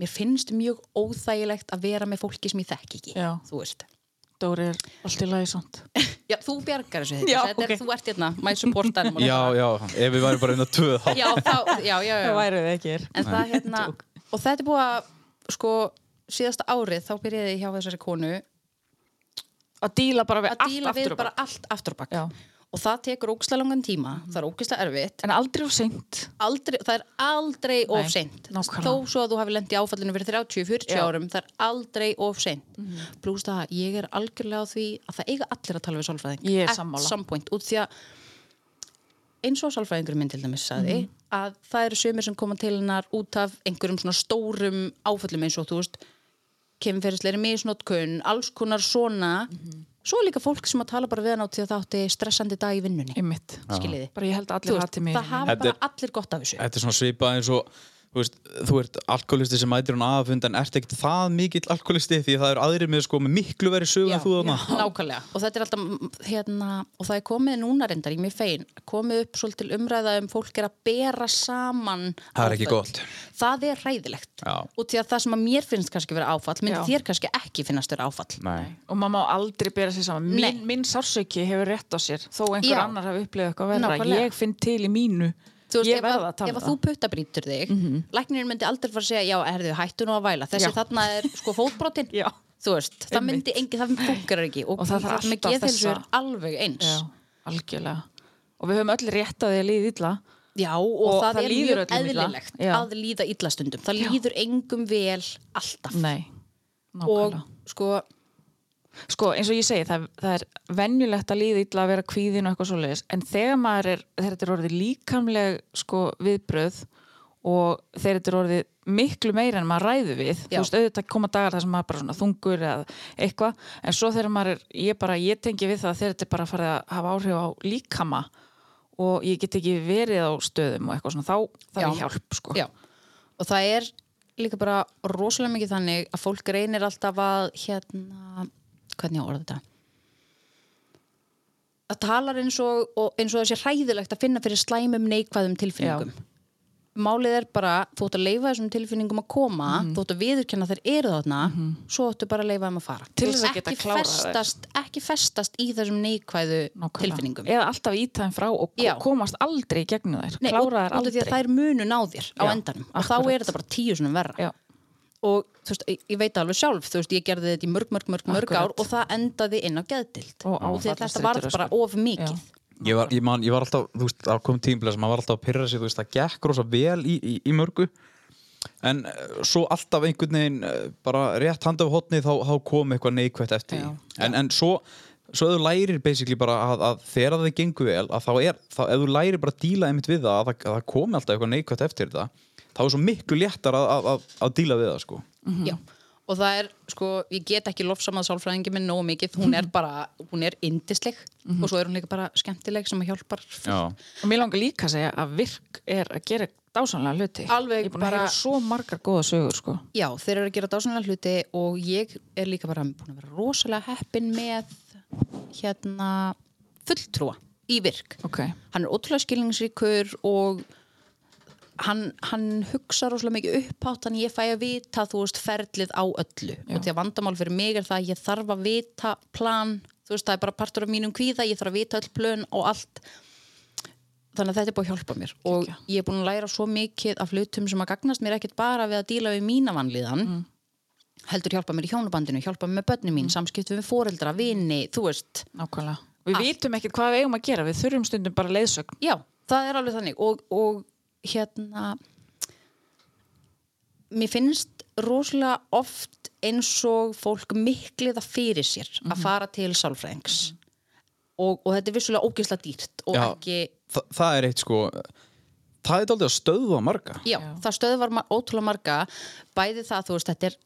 S4: mér finnst mjög óþægilegt að vera með fólki sem ég þekki ekki
S3: Já.
S4: þú veist
S3: Dóri er allt í lagi svont
S4: Já, þú bjargar þessu þetta,
S3: Já,
S4: þetta
S3: ok.
S4: er, þú ert hérna, my support animal
S5: Já, já, ef við værum bara einn að töða þá.
S4: já, þá, já, já, já.
S3: væri það ekki er
S4: en það hérna og þetta er búið að, sko, síðasta árið þá byrjaði ég hjá þessari konu
S3: að díla bara við
S4: að
S3: allt
S4: díla við
S3: aftur á
S4: bara
S3: bak.
S4: allt aftur á bak
S3: Já. Mm.
S4: og það tekur ógislega langan tíma, það er ógislega erfitt
S3: en aldrei of seint
S4: aldrei, það er aldrei of
S3: Nei,
S4: seint
S3: nákvæmlega.
S4: þó svo að þú hafi lent í áfallinu fyrir 30-40
S3: Já. Mhm.
S4: árum, það er aldrei of seint mm -hmm. pluss það, að ég er algjörlega á því að það eiga allir að tala við sálfræðing
S3: Ég er
S4: At
S3: sammála.
S4: some point, út því að eins og sálfræðingur minn til dæmis saði
S3: Mhm.
S4: að það eru sömur sem koma til hennar út af einhverjum svona stórum áfallum eins og þú veist kemferðisleiri misnotkun, alls konar svona
S3: Mhm.
S4: svo er líka fólk sem að tala bara við hann á því að það átti stressandi dag í vinnunni
S3: einmitt,
S4: skiljiði
S3: bara ég held að
S4: Þú
S3: allir
S4: veist,
S3: hati mig
S4: það hafa
S5: Þetta
S4: bara
S5: er-
S4: allir gott af þessu
S5: Þetta er svona svipað eins og þú, veist, þú ert alkoholisti sem mætir hún aðfund en ert ekkert það mikill alkoholisti því það eru aðrir með sko með miklu verið sögu
S4: Já,
S5: en þú þarna.
S4: já, nákvæmlega og þetta er alltaf mm, hérna, og það er komið núna reyndar í mjög fein komið upp svolítil umræða um fólk er að bera saman
S5: Það er ekki
S4: áföll.
S5: gott.
S4: það er ræðilegt
S5: Já.
S4: og því að það sem að mér finnst kannski vera áfall myndi
S3: Já.
S4: þér kannski ekki finnast vera áfall
S5: Nei.
S3: og maður má aldrei bera sér saman minn,
S4: Nei.
S3: minn sársauki hefur rétt á sér þó einhver
S4: Já.
S3: annar hafi upplifað eitthvað verra
S4: Nákvæmlega.
S3: ég finn til í mínu
S4: Þú veist,
S3: ég
S4: ef að-
S3: verða að tala
S4: ef
S3: um
S4: að þú
S3: það Mhm.
S4: puttabrýtur þig læknirinn myndi aldrei fara að segja já, herðu, hættu nú að væla þessi
S3: Já.
S4: þarna er sko fótbrotinn
S3: Já.
S4: þú veist, það
S3: Einmitt.
S4: myndi engi, það funkar ekki og,
S3: Og það þarf
S4: með
S3: alltaf
S4: geðheilsu er
S3: þessa-
S4: alveg eins
S3: Já, algjörlega og við höfum öll rétt á því að líða illa
S4: Já, og,
S3: Og
S4: það,
S3: það
S4: er
S3: líður
S4: mjög
S3: öllum illa.
S4: eðlilegt
S3: Já.
S4: að líða illa stundum. Það líður engum vel alltaf.
S3: nei,
S4: og
S3: nákvæmlega
S4: sko,
S3: sko eins og ég segi, það, það er venjulegt að líða illa að vera kvíðin og eitthvað svoleiðis en þegar maður er, þegar þetta er orðið líkamleg sko viðbröð og þegar þetta er orðið miklu meira en maður ræðu við, þú
S4: Já.
S3: veist auðvitað koma dagar þar sem maður bara svona þungur eða eitthvað, en svo þegar maður er, ég bara ég tengi við það þegar þetta er bara farið að hafa áhrif á líkama og ég get ekki verið á stöðum og eitthvað svona þá þarf
S4: Já.
S3: ég hjálp sko
S4: já, og það er líka bara rosalega mikið þannig að fólk reynir alltaf að, hérna, hvernig á orða þetta? Það talar eins og, og eins og það sé hræðilegt að finna fyrir slæmum neikvæðum tilfinningum. Málið er bara, þú ætti að leifa þessum tilfinningum að koma,
S3: Mhm.
S4: þú ætti að viðurkenna að þær eru þarna, svo ætti bara að leifa þeim að fara.
S3: Til
S4: Þú
S3: þess
S4: átt
S3: að geta
S4: ekki
S3: klárað þær.
S4: festast, Ekki festast í þessum neikvæðu
S3: Nákvæmlega.
S4: tilfinningum.
S3: eða alltaf ítæðin frá og
S4: Já.
S3: komast aldrei í gegnum þær,
S4: Nei,
S3: klára
S4: út-
S3: þær
S4: út af því að
S3: aldrei
S4: þær munu ná þér á
S3: Já,
S4: endanum og þá
S3: akkurat.
S4: er þetta bara tíu svona verra
S3: Já.
S4: og þú veist, ég, ég veit það alveg sjálf þú veist, ég gerði þetta í mörg, mörg, mörg, mörg
S3: Akkurat.
S4: ár og það endaði inn á geðdild
S3: Og
S4: því að þetta
S3: áfallastreitur
S4: varð
S3: og
S4: bara
S3: sko.
S4: of mikið
S3: Já.
S5: Ég var, ég, man, ég var alltaf, þú veist, það kom tímlega sem maður var alltaf að pyrra sig, þú veist, það gekk rosa vel í, í, í mörgu en uh, svo alltaf einhvern veginn uh, bara rétt handa á hotni þá, þá kom eitthvað neikvætt eftir
S3: Já.
S5: því en, en svo, svo ef þú lærir basically bara að, að þegar það gengur vel að þá er, þá, ef þú lærir bara að díla einmitt við það að, það- að það komi alltaf eitthvað neikvætt eftir þetta þá er svo miklu léttar að, að, að, að díla við það sko
S3: Mhm.
S4: Já. og það er, sko, ég get ekki lofsamað sálfræðingi minn nógu mikið, hún er bara hún er indisleg
S3: Mhm.
S4: og svo er hún líka bara skemmtileg sem að hjálpar
S5: Já.
S3: Og mér langar líka að segja að virk er að gera dásanlega hluti.
S4: Alveg
S3: Ég er búin að
S4: bara-
S3: heyra svo margar góða sögur, sko.
S4: Já, þeir eru að gera dásanlega hluti og ég er líka bara búin að vera rosalega heppin með hérna fulltrúa í virk.
S3: Ok.
S4: Hann er ótrúlega skilningsríkur og hann, hann hugsa rosalega mikið upphátt þannig ég fæ að vita þú veist ferlið á öllu og því að vandamál fyrir mig er það að ég þarf að vita plan, þú veist það er bara partur af mínum kvíða, ég þarf að vita öll plön og allt þannig að þetta er búið að hjálpa mér og ég er búin að læra svo mikið af hlutum sem að gagnast mér ekkert bara við að díla við mína vanlíðan heldur hjálpa mér í hjónabandinu, hjálpa mér með börnum mín, samskiptum við foreldra, vini, þú veist
S3: Nákvæmlega. Við vitum ekkert hvað við eigum að gera. Við þurfum stundum bara leiðsögn.
S4: Já, það er alveg þannig og, og hérna mér finnst rosalega oft eins og fólk miklið að fyrir sér að fara til sálfræðings og, og þetta er vissulega ógeðslega dýrt og
S5: Já.
S4: ekki,
S5: Þa, það er eitt sko það er aldrei að stöðva marga
S4: já, það stöðvar ma- ótrúlega marga bæði það, þú veist, þetta er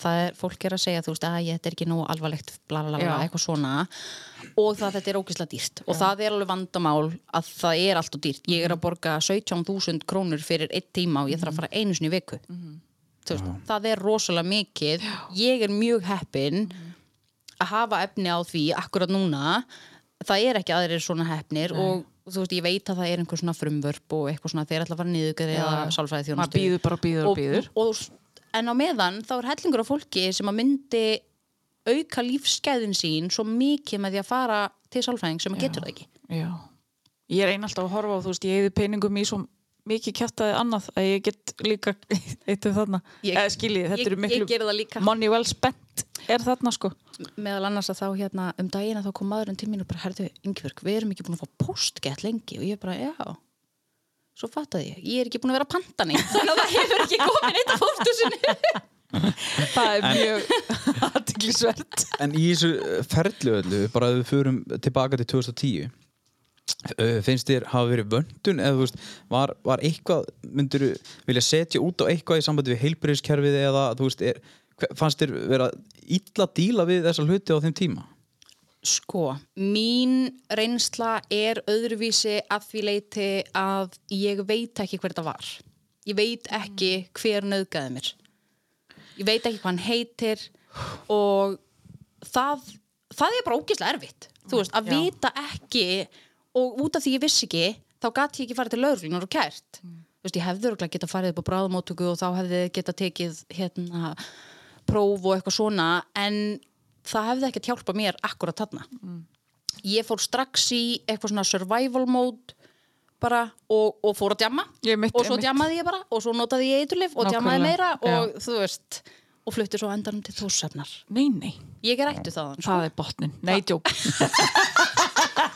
S4: það er, fólk er að segja, þú veist, að ég, þetta er ekki nú alvarlegt, bla bla bla, bla,
S3: Já.
S4: eitthvað svona og það þetta er ógeðslega dýrt og það er alveg vandamál að það er allt og dýrt, ég er að borga 17.000 krónur fyrir einn tíma og ég þarf að fara einu sinni í viku þú veist, það er rosalega mikið ég er mjög heppin að hafa efni á því akkurat núna, það er ekki aðrir svona heppnir og þú veist, ég veit að það er einhver svona frumvörp og eitthvað svona þeir ætla að fara niðugrið eða
S3: Já.
S4: sálfræði
S3: Maður bíður bara og bíður og bíður.
S4: og, En á meðan þá er hellingur af fólki sem að myndi auka lífsgæðin sín svo mikið með því að fara til sálfræðing sem að getur það ekki
S3: Já. Ég er einn alltaf að horfa á, þú veist, ég heiði peningum í svo mikið kjartaði annað að ég get líka eittu þarna.
S4: Ég-
S3: Eða skiljið, þetta
S4: ég-
S3: eru
S4: ég geri það líka.
S3: miklu money well spent er þarna sko.
S4: meðal annars að þá hérna um daginn að þá kom maðurinn til mín og bara herðu yngverk, við erum ekki búin að fá postgett lengi og ég bara, já svo fattaði ég, ég er ekki búin að vera að panta neitt þannig að það hefur ekki komin eitt af fórtusinu
S3: Það er mjög aðtiklisvert.
S5: en í þessu eh, ferli öllu bara ef við förum tilbaka til 2010 eh, finnst þér hafa verið vöndun eða þú veist, var, var eitthvað myndir vilja setja út á eitthvað í sambandi við heilbriðiskerfið eða þú veist, er, hve- fannst þér vera illa díla við þessa hluti á þeim tíma
S4: Sko, mín reynsla er öðruvísi að því leiti að ég veit ekki hver þetta var. Ég veit ekki hver nöðgæði mér. Ég veit ekki hvað hann heitir og það, það er bara ógeðslega erfitt. Þú veist, að
S3: Já.
S4: vita ekki og út af því ég vissi ekki, þá gat ég ekki farið til lögreglunar og kært.
S3: Mm.
S4: Þú veist, ég hefði örgulega geta farið upp á bráðumótöku og þá hefði geta tekið hérna próf og eitthvað svona en það hefði ekkert hjálpað mér akkurat þarna
S3: Mm.
S4: ég fór strax í eitthvað svona survival mode bara og, og fór að djamma
S3: Ég mitt,
S4: og svo
S3: ég mitt.
S4: djammaði ég bara og svo notaði ég eiturlif og djammaði
S3: Nákvæmlega,
S4: meira og þú veist og flutti svo á endanum til þúsefnar
S3: Nei, nei,
S4: ég er ættu þaðan sko.
S3: það er botnin. Nei, djók.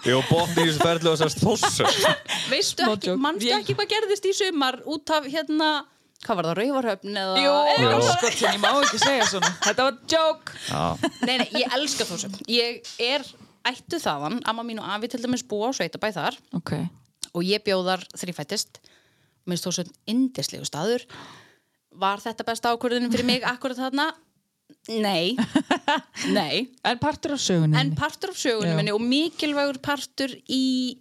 S5: Ég var botn í þessu ferli og þessast þossum
S4: veistu
S3: Smá
S4: ekki,
S3: joke.
S4: manstu
S3: Ég-
S4: ekki hvað gerðist í sumar út af hérna hvað var það, rauvarhöfn eða
S3: Jú,
S4: eða-
S3: skotin, ég sko, má ekki segja svona. Þetta var djók.
S4: Nei, nei, ég elska þúsum ég er ættu þaðan amma mín og afi til dæmis búa á sveitabæ þar
S3: Ok,
S4: og ég bjóðar þrýfættist minnst þó sem indislegu staður var þetta besta ákvörðunum fyrir mig akkurat þarna? Nei Nei,
S3: en partur af sögunni.
S4: en partur af sögunum
S3: Já.
S4: minni og mikilvægur partur í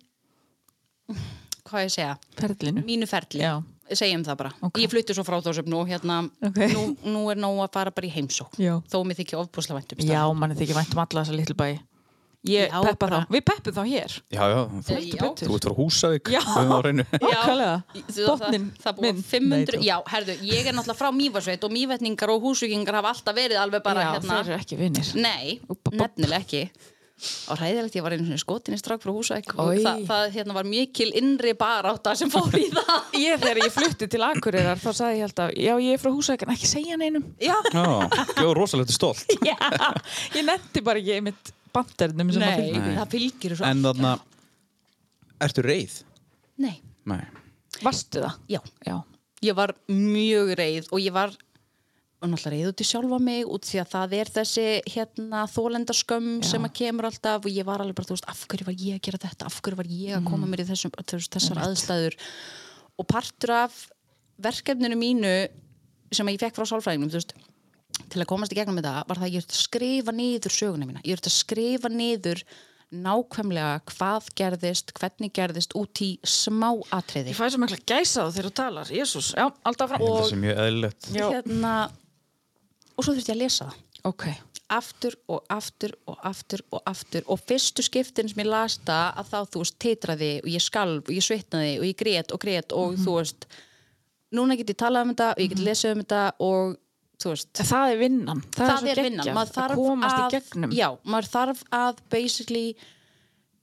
S4: hvað á ég að segja,
S3: Perlinu.
S4: mínu ferli
S3: Já.
S4: segjum það bara,
S3: Ok.
S4: ég flutti svo frá þósöfn og hérna,
S3: Ok.
S4: nú, nú er nóg að fara bara í heimsókn,
S3: Já.
S4: þó mér þykja ofbúslega vænt um
S3: Já, manni þykir vænt um alla þessa litlu bæi. Ég
S4: Já,
S3: peppa
S4: bara-
S3: þá. Við peppum þá hér.
S5: Já, já, þú,
S4: Heldur
S3: betur.
S5: þú ert frá Húsavík
S3: Já.
S5: við erum á hreinu.
S3: Nákvæmlega.
S4: Já, þú- það-
S3: Botninn
S4: Það búið
S3: minn.
S4: 500,
S3: Nei,
S4: já, herðu, ég er náttúrulega frá Mývarsveit og Mývetningar og húsugingar hafa alltaf verið alveg bara
S3: já,
S4: hérna
S3: þeir eru ekki vinnir.
S4: Nei,
S3: Úpa, bop.
S4: nefnilega ekki og hræðilegt, ég var einu sinni skotin í strak frá húsæk og
S3: Oj.
S4: það, það hérna var mikil innri barátta sem fór í það
S3: Ég þegar ég flutti til Akureyrar þá sagði ég alltaf, já ég er frá Húsæk en ekki segja neinum.
S4: Já,
S5: Já, ég var rosalegt stolt
S3: Já, ég netti bara ekki einmitt bandernum sem að
S4: nei,
S3: fylgja.
S4: það fylgir svo
S5: En þarna, ertu reið?
S4: Nei,
S5: Nei
S3: Varstu það?
S4: já,
S3: Já.
S4: ég var mjög reið og ég var og náttúrulega reið út í sjálfa mig út því að það er þessi hérna þólendaskömm sem að kemur alltaf og ég var alveg bara, þú veist, af hverju var ég að gera þetta af hverju var ég að koma mér í þessum, þú veist, þessar aðstæður og partur af verkefninu mínu sem að ég fekk frá sálfræðingnum, þú veist til að komast í gegnum þetta var það að ég ert að skrifa niður söguna mína, ég ert að skrifa niður nákvæmlega hvað gerðist, hvernig gerðist út í smá atriði
S3: Ég fæ svo mikla gæsa þá þegar þú talar, Jésús. Já, alltaf frá.
S5: Ég held að það sé mjög eðlilegt
S3: Já.
S4: hérna og svo þurfti ég að lesa það
S3: Ok.
S4: aftur og aftur og aftur og aftur og fyrstu skiptin sem ég las það að þá þú veist titraði og ég skalf og ég svitnaði og ég grét og grét og
S3: Mhm.
S4: þú veist núna get ég talað um þetta og ég get lesið um þetta og þú veist
S3: Það er vinnan. Það,
S4: það,
S3: er,
S4: er,
S3: svo
S4: vinnan,
S3: geggjað
S4: maður þarf
S3: að komast
S4: að
S3: í gegnum.
S4: já, maður þarf að basically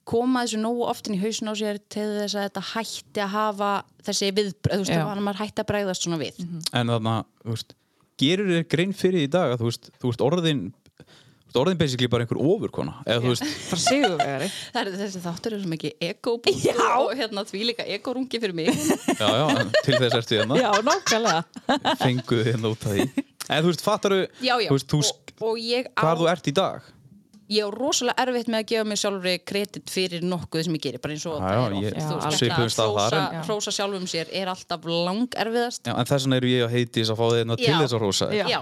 S4: koma þessu nógu oftin í hausin á sér til þess að þetta hætti að hafa þessi viðbröð, þú veist,
S3: Já.
S4: að maður hætti að bregðast svona við
S5: En þarna, þú veist, gerur þér grein fyrir í dag að þú veist, þú veist orðin þú veist, orðin basically bara einhver ofurkona eða þú veist,
S3: Frá sigurvegari.
S4: Það eru þessi þáttur er svo mikið ekobúst
S3: Já.
S4: og hérna því líka ekorungi fyrir mig.
S5: já, já, en til þess ertu
S3: já,
S5: hérna,
S3: nákvæmlega.
S5: fenguð hérna út af því En þú veist, fattar
S4: Já, já.
S5: þú veist, þú,
S4: og, og ég
S5: hvar
S4: á,
S5: þú ert í dag
S4: ég er rosalega erfitt með að gefa mér sjálfri kredit fyrir nokkuð sem ég gerir, bara eins og
S1: Já, já,
S4: þetta er oft,
S1: ég-
S4: þú
S3: Já,
S4: veist,
S1: svipuðum
S4: þetta
S1: stað
S4: að
S1: þar,
S4: hrósa,
S3: en-
S4: hrósa sjálfum sér er alltaf lang erfiðast
S1: Já, en þess vegna eru ég að heiti þess að fá þið hérna til
S4: Já.
S1: þess að rosa
S3: Já.
S4: já.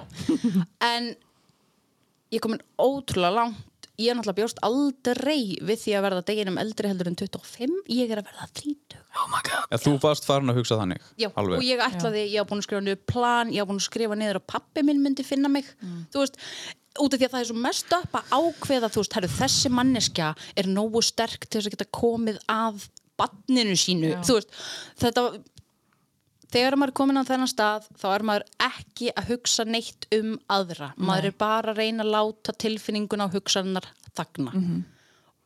S4: en ég er komin ótrúlega langt ég er náttúrulega bjóst aldrei við því að verða deginum eldri heldur en 25 ég er að verða 30
S1: En þú varst farin að hugsa þannig
S4: já, og
S1: Alveg
S4: ég ætlaði, ég hafa búin að skrifa niður plan ég hafa búin að skrifa niður að pappi minn myndi finna mig
S3: Mm.
S4: þú veist út af því að það er svo mest upp að ákveða þú veist, herru, þessi manneskja er nógu sterk til þess að geta komið að banninu sínu,
S3: Já.
S4: þú veist þetta, þegar maður er komin á þennan stað þá er maður ekki að hugsa neitt um aðra, maður er bara að reyna að láta tilfinninguna og hugsanar þagna
S3: Mhm.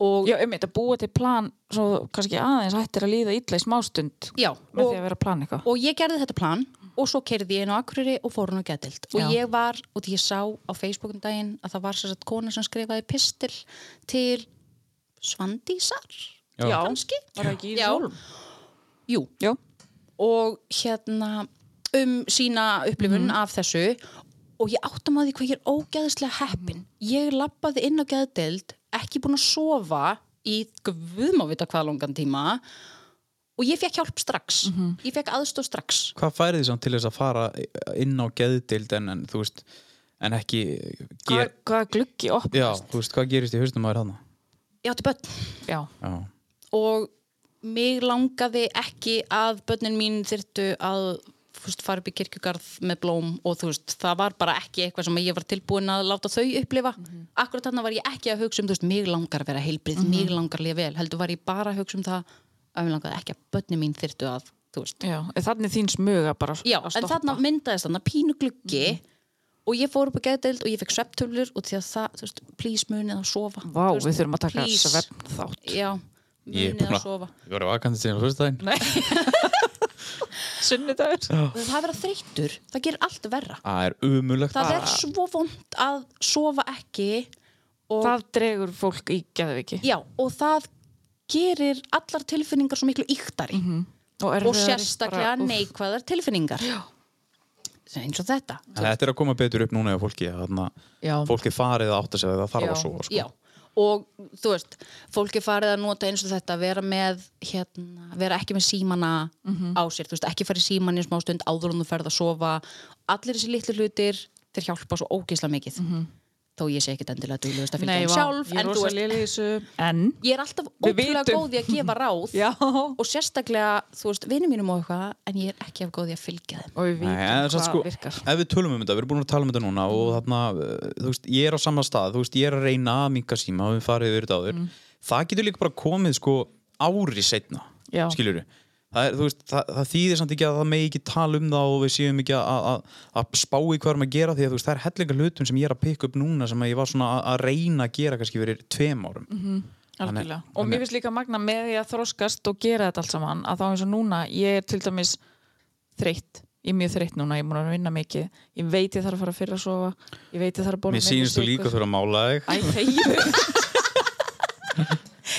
S4: og
S3: Já, um að búa til plan svo þú kannski aðeins hættir að líða illa í smástund
S4: Já,
S3: með
S4: og-
S3: því að vera að plana eitthvað
S4: og ég gerði þetta plan og svo kerði ég inn á Akureyri og fór hún á getild og
S3: Já.
S4: ég var, og því ég sá á Facebookum daginn að það var sér að kona sem skrifaði pistil til Svandísar
S1: Já.
S4: kannski
S3: Var það ekki í
S4: Já.
S3: Sólum?
S4: Jú,
S3: Já,
S4: og hérna um sína upplifun
S3: Mhm.
S4: af þessu og ég áttum að því hvað ég er ógæðislega heppin
S3: Mhm.
S4: ég lappaði inn á gæðdeild ekki búin að sofa í guðum að vita hvað langan tíma og ég fekk hjálp strax
S3: Mhm.
S4: ég fekk aðstof strax
S1: Hvað færið þið samt til þess að fara inn á geðdild en, en þú veist En ekki
S3: hvað,
S1: ger...
S3: hvað gluggi
S1: Já,
S3: opnast
S1: þú veist, hvað gerist í haustum maður hana?
S4: ég átti börn
S3: Já,
S1: Já,
S4: og mig langaði ekki að börnin mín þyrtu að þú veist, fara upp í kirkjugarð með blóm og þú veist, það var bara ekki eitthvað sem ég var tilbúin að láta þau upplifa
S3: Mhm.
S4: akkurat þarna var ég ekki að hugsa um þú veist, mig langar að vera heilbrið, mig
S3: Mhm.
S4: langar að lifa vel heldur var ég bara að hugsa um það að mig langaði ekki að börnin mín þyrtu að þú veist,
S3: já, en þarna er þín smuga bara
S4: Já,
S3: að
S4: en
S3: stoppa Mhm.
S4: þarna myndaðist þarna pínu gluggi og ég fór upp á gæðdeild og ég fekk svepptöflur og því að það, þú veist, please munið að sofa
S3: Vá,
S4: Þú veist,
S3: við þurfum að taka
S4: please.
S3: svefn þátt
S4: Já,
S1: ég er
S4: munið
S1: búin
S4: að
S1: að
S4: sofa
S1: Ég var vakandi síðan á fyrsta daginn
S3: Sunnudagur
S4: og það að vera þreyttur, það gerir allt verra
S1: Það er umulegt
S4: það er svo vond að sofa ekki og,
S3: Það dregur fólk í Geðviki
S4: já, og það gerir allar tilfinningar svo miklu yktari
S3: og,
S4: og sérstaklega neikvæðar tilfinningar Sem eins og þetta
S1: Þetta er að koma betur upp núna eða fólki Þannig
S4: Já.
S1: að fólki farið að átta sig að það þarf
S3: Já.
S1: að sofa sko.
S4: já, og þú veist fólk er farið að nota eins og þetta vera með, hérna, vera ekki með símana
S3: Mhm.
S4: á sér, þú veist, ekki farið síman í smá stund áður en þú ferð að sofa allir þessi litlu hlutir, þeir hjálpa svo ógeisla mikið þó ég sé ekkit endilega duglegust að fylgja
S3: Mhm. Nei,
S4: þeim
S3: vá,
S4: sjálf
S3: ég
S4: en
S3: er
S4: þú
S3: rosa
S4: veist,
S3: léleg í þessu En
S4: ég er alltaf
S3: Við
S4: ótrúlega
S3: vitum.
S4: góð í að gefa ráð
S3: Já.
S4: og sérstaklega, þú veist, vinnum mínum og eitthvað en ég er ekki af góð í að fylgja þeim
S3: Og við vitum
S1: Nei, en
S3: hvað
S1: samt sko,
S3: virkar Mm.
S1: ef við tölum um þetta, við erum búin að tala um þetta núna og þarna, uh, þú veist, ég er á sama stað þú veist, ég er að reyna að minka síma og við farið yfir þetta
S3: Mm.
S1: áður, það getur líka bara komið sko ári setna
S3: Já.
S1: skilur við, það, er, þú veist, það, það þýðir samt ekki að það megi ekki tala um það og við séum ekki að- að- að að spá í hvað erum að gera því að þú veist, það er hellinga hlutum sem ég er að pikka upp núna sem að ég var svona að, að reyna að gera kannski fyrir tveim árum Þannig-
S3: Algjörlega. Og mér finnst líka magna með því að þroskast og gera þetta allt saman að þá eins og núna, ég er til dæmis þreytt, ég er mjög þreytt núna, ég er múin að vinna mikið, ég veit ég þarf að fara fyrir að sofa, ég veit ég þarf að bóla
S1: Mér sýnist þú líka þurfa að mála þig
S3: Æ, þeir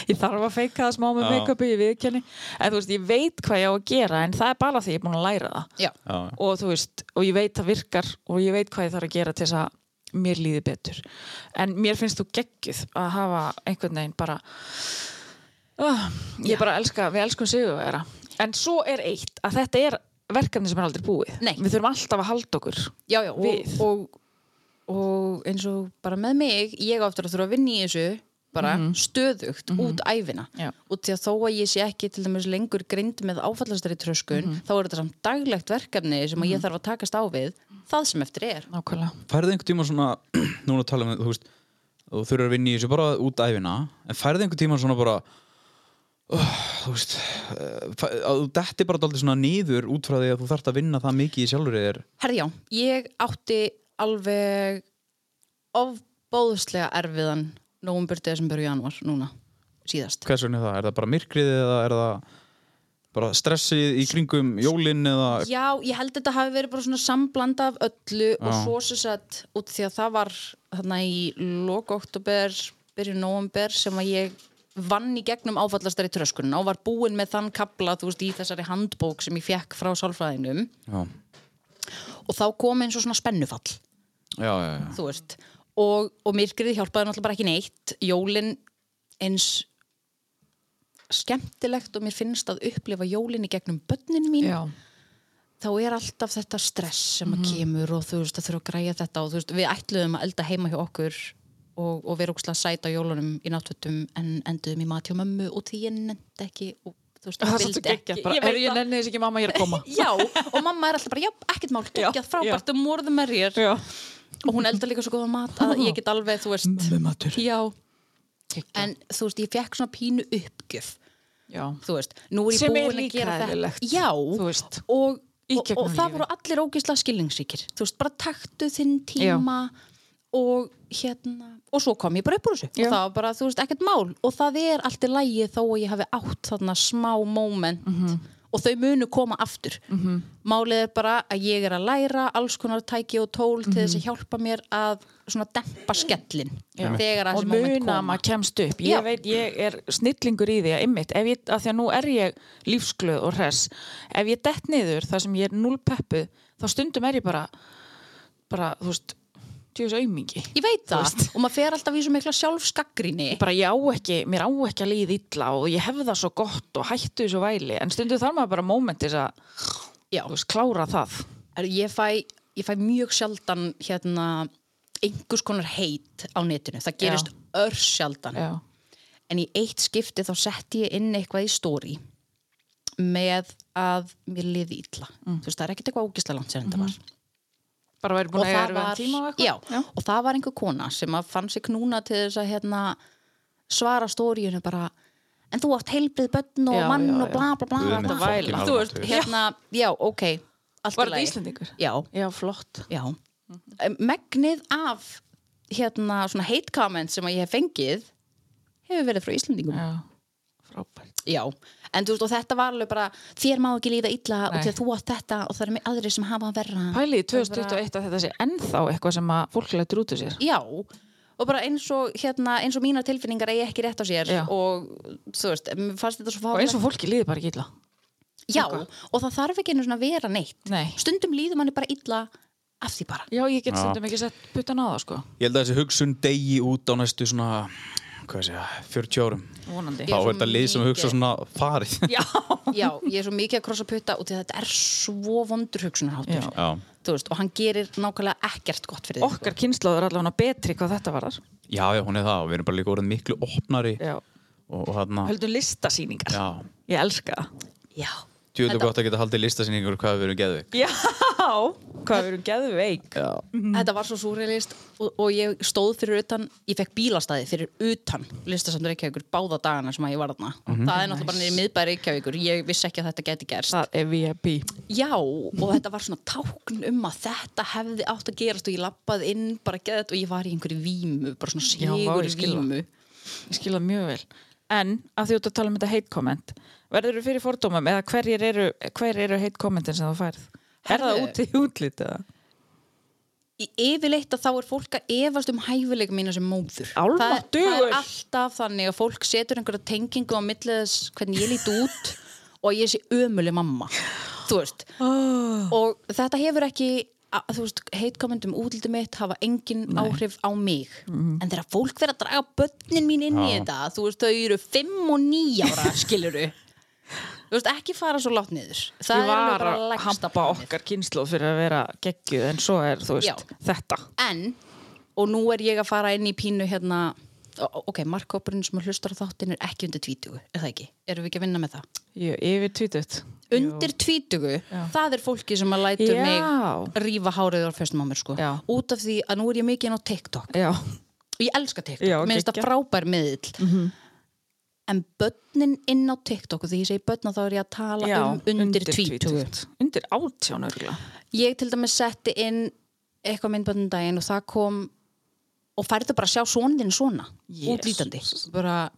S3: Ég þarf að feika það smá með
S1: Já.
S3: make-upi, ég viðkenni En þú veist, ég veit hvað ég á að gera en það er bara því ég er búin að læra það
S4: Já,
S1: Já, já.
S3: og þú veist, og ég veit það virkar og ég veit hvað ég þarf að gera til þess að mér líði betur en mér finnst þú geggjuð að hafa einhvern veginn bara uh, ég bara elska, við elskum sigurvera en svo er eitt að þetta er verkefni sem er aldrei búið
S4: Nei.
S3: við þurfum alltaf að halda okkur
S4: já, já og,
S3: Við.
S4: og, og eins og bara með mig ég á eftir að þurfa að vinna í þessu bara stöðugt út æfina
S3: Mhm. Já.
S4: og því að þó að ég sé ekki til dæmis lengur grind með áfallastari tröskun
S3: Mhm.
S4: þá er þetta samt daglegt verkefni sem að ég þarf að takast á við það sem eftir er
S3: nákvæmlega
S1: færði einhvern tíma svona núna tala um, þú veist þú þurfur að vinna í þessu bara út æfina en færði einhvern tíma svona bara uh, þú veist uh, fæ- að þú detti bara daldið svona nýður út frá því að þú þarft að vinna það mikið í sjálfur þér
S4: Herði já, ég átti alveg ofbóðslega erfiðan nóvumbur, desember og januar núna síðast.
S1: hvers vegna er það, er það bara myrkrið eða er það bara stressið í kringum jólin eða
S4: Já, ég held að þetta hafi verið bara svona samblanda af öllu og
S1: Já.
S4: svo sem sagt út því að það var þarna í loka oktober, byrju nóvumbur sem að ég vann í gegnum áfallastari tröskunna og var búin með þann kapla, þú veist, í þessari handbók sem ég fekk frá sálfræðinum
S1: já,
S4: og þá kom eins og svona spennufall
S1: já, já, já.
S4: þú veist og, og myrkrið hjálpaði náttúrulega bara ekki neitt jólin eins skemmtilegt og mér finnst að upplifa jólin í gegnum börnin mín
S3: Já,
S4: þá er alltaf þetta stress sem
S3: Mhm.
S4: að kemur og þú veist að þurfa að græja þetta og þú veist við ætluðum að elda heima hjá okkur og, og við rúkslega sæt á jólunum í náttúttum en enduðum í mat hjá mömmu og því ég nefndi ekki og þú veist,
S3: það
S4: ég
S3: er
S4: vildi
S3: svolítið geggjað bara,
S4: ég veit
S3: er ég
S4: það.
S3: nenni þess ekki mamma, ég er að koma
S4: Já, og mamma er alltaf bara, já, ekkert mál, geggjað, frábært, um morðu með þér
S3: Já,
S4: og hún eldar líka svo góða mat að ég get alveg, þú veist,
S5: Með matur
S4: já,
S3: Geggjað.
S4: en þú veist, ég fekk svona pínu uppgjöf
S3: já,
S4: þú veist, nú er ég
S3: Sem er
S4: búin að
S3: líka
S4: gera þetta
S3: eðlilegt,
S4: já,
S3: þú veist,
S4: og,
S3: í
S4: og,
S3: gegnum
S4: og það
S3: lífið.
S4: voru allir ógislega skilningsríkir þú veist, bara taktu þinn tíma og hérna og svo kom ég bara upp úr þessu
S3: Já.
S4: og það var bara, þú veist, ekkert mál og það er allt í lægi þó að ég hafi átt þarna smá moment
S3: Mhm.
S4: og þau munu koma aftur -hmm. málið er bara að ég er að læra alls konar tæki og tól til þess að hjálpa mér að svona dempa skellin
S3: Mhm. Já.
S4: þegar að
S3: og
S4: þessi moment
S3: muna
S4: koma
S3: að maður kemst upp ég
S4: Já.
S3: veit, ég er snillingur í því að ymmit, ef ég, að því að nú er ég lífsglöð og hress, ef ég dett niður þar sem ég er null peppuð þá stundum er ég bara bara, þú veist, tjóðis aumingi
S4: ég veit það,
S3: veist.
S4: og maður fer alltaf í svo mikla sjálfskaggrinni
S3: bara ég á ekki, mér á ekki að líða illa og ég hef það svo gott og hættu þessu væli en stundum þarf maður bara momentis að
S4: Já.
S3: þú veist, klára það
S4: Er, ég, fæ, ég fæ mjög sjaldan hérna, einhvers konar heit á netinu. Það gerist
S3: Já.
S4: ja. örsjaldan.
S3: já,
S4: En í eitt skipti þá setti ég inn eitthvað í stóri með að mér liði illa. Þú veist, það er ekkert eitthvað ógislega langt sér en þetta var
S3: bara væri Mm.
S4: og
S3: Mhm. búin að
S4: það,
S3: vera
S4: var,
S3: tíma og
S4: já,
S3: eitthvað
S4: og það var einhver kona sem að fann sig knúna til þess að hérna, svara stóriðinu bara en þú átt heilbrið bönn og
S3: Já,
S4: mann
S3: já,
S4: og bla bla bla,
S5: Guð
S4: bla,
S5: minn
S4: bla.
S3: fucking
S4: Þú
S5: almáttugur.
S4: veist, hérna, já, ok allt í
S3: Var þetta
S4: lagi.
S3: Íslendingur?
S4: Já,
S3: já, flott
S4: Já. Megnið af hérna svona hate comments sem að ég hef fengið hefur verið frá Íslendingum.
S3: já, frábært
S4: Já. En þú veist og þetta var alveg bara þér má ekki líða illa
S3: Nei.
S4: og þegar þú átt þetta og það er með aðrir sem hafa að verra.
S3: Pælið í
S4: Það er bara-
S3: 2021 að þetta sé ennþá eitthvað sem að fólk lætur út úr sér.
S4: Já. Og bara eins og hérna eins og mínar tilfinningar eigi ekki rétt á sér
S3: Já.
S4: og þú veist, mér fannst þetta svo
S3: Og eins
S4: fálega.
S3: og fólki líður bara ekki illa.
S4: Já,
S3: Eitthvað.
S4: og það þarf ekki einu svona að vera neitt.
S3: Nei.
S4: Stundum líður manni bara illa af því bara.
S3: Já, ég get stundum ekki sett puttan á það, sko.
S5: Ég held að þessi hugsun degi út á næstu svona Hvað sé ég, 40 árum
S3: Vonandi.
S5: Þá
S4: er
S5: er
S4: svo
S5: þetta lið sem
S4: mikið-
S5: hugsa svona farið
S3: Já.
S4: Já, ég er svo mikið að krossa putta og þetta er svo vondur hugsunarháttur.
S3: Já.
S5: Já,
S4: þú veist, og hann gerir nákvæmlega ekkert gott fyrir þig. sko.
S3: Okkar kynslaður allavega betri hvað þetta varðar.
S5: já, já, hún er það og við erum bara líka orðin miklu opnari
S3: Já.
S5: og, og þarna
S3: Höldum listasýningar.
S5: Já,
S3: Ég elska það.
S4: Já.
S5: djúðu gott að geta haldið listasýningur hvað við erum geðvik
S3: Já, hvað við erum geðveik.
S5: Já,
S3: Mhm.
S4: Þetta var svo súrealist og, og ég stóð fyrir utan, ég fekk bílastæði fyrir utan listasamtur Reykjavíkur báða dagana sem að ég var þarna.
S5: Mhm.
S4: Það er náttúrulega bara niður miðbæri Reykjavíkur, ég vissi ekki að þetta geti gerst.
S3: Það er VIP.
S4: Já, og þetta var svona tákn um að þetta hefði átt að gerast og ég lappað inn bara geðið og ég var í einhverju vímu, bara svona
S3: Já, vá, ég
S4: sigur
S3: skil það.
S4: vímu.
S3: Ég skil það mjög vel. En, að því út að tala um þetta hate comment, verður þú fyrir fordómum eða hverjir eru, hver eru hate commentin sem þú færð? Er það
S4: Herðu.
S3: út í útlitið? eða?
S4: í yfirleitt að þá er fólk að efast um hæfileika mína sem móður
S3: Álfa
S4: það, er- það
S3: dugur.
S4: er alltaf þannig að fólk setur einhverja tengingu á millið þess hvernig ég líti út og að ég sé ömuleg mamma þú veist
S3: Ah.
S4: og þetta hefur ekki að, þú veist, heitkomendum útliti mitt hafa engin áhrif á mig
S3: Mhm.
S4: en þegar fólk verður að draga börnin mín inn í þetta þú veist, þau eru 5 og 9 ára skiluru þú veist, ekki fara svo látt niður það
S3: ég
S4: er alveg
S3: var
S4: bara
S3: að
S4: lægsta
S3: hampa
S4: planið.
S3: okkar kynslu fyrir að vera geggjuð en svo er þú veist
S4: Já.
S3: þetta
S4: en, og nú er ég að fara inn í pínu hérna ó- ok, markkópurinn sem hlustar á þáttin er ekki undir tvítugu, er það ekki? Erum við ekki að vinna með það?
S3: ég, yfir tvítut
S4: Undir tvítugu, það er fólki sem að lætur
S3: Já.
S4: mig rífa hárið á fyrstum á mér sko,
S3: Já.
S4: út af því að nú er ég mikið inn á TikTok
S3: já,
S4: og ég elska TikTok,
S3: Já,
S4: mér finnst það
S3: geggjað. Mhm.
S4: frábær miðill en börnin inn á TikTok og því ég segi börn að þá er ég að tala
S3: já
S4: um undir, tvítugu
S3: undir átján örgulega
S4: ég til dæmis setti inn eitthvað myndböndundaginn og það kom og færði bara að sjá sonin þinn svona
S3: Jesus.
S4: útlítandi bara,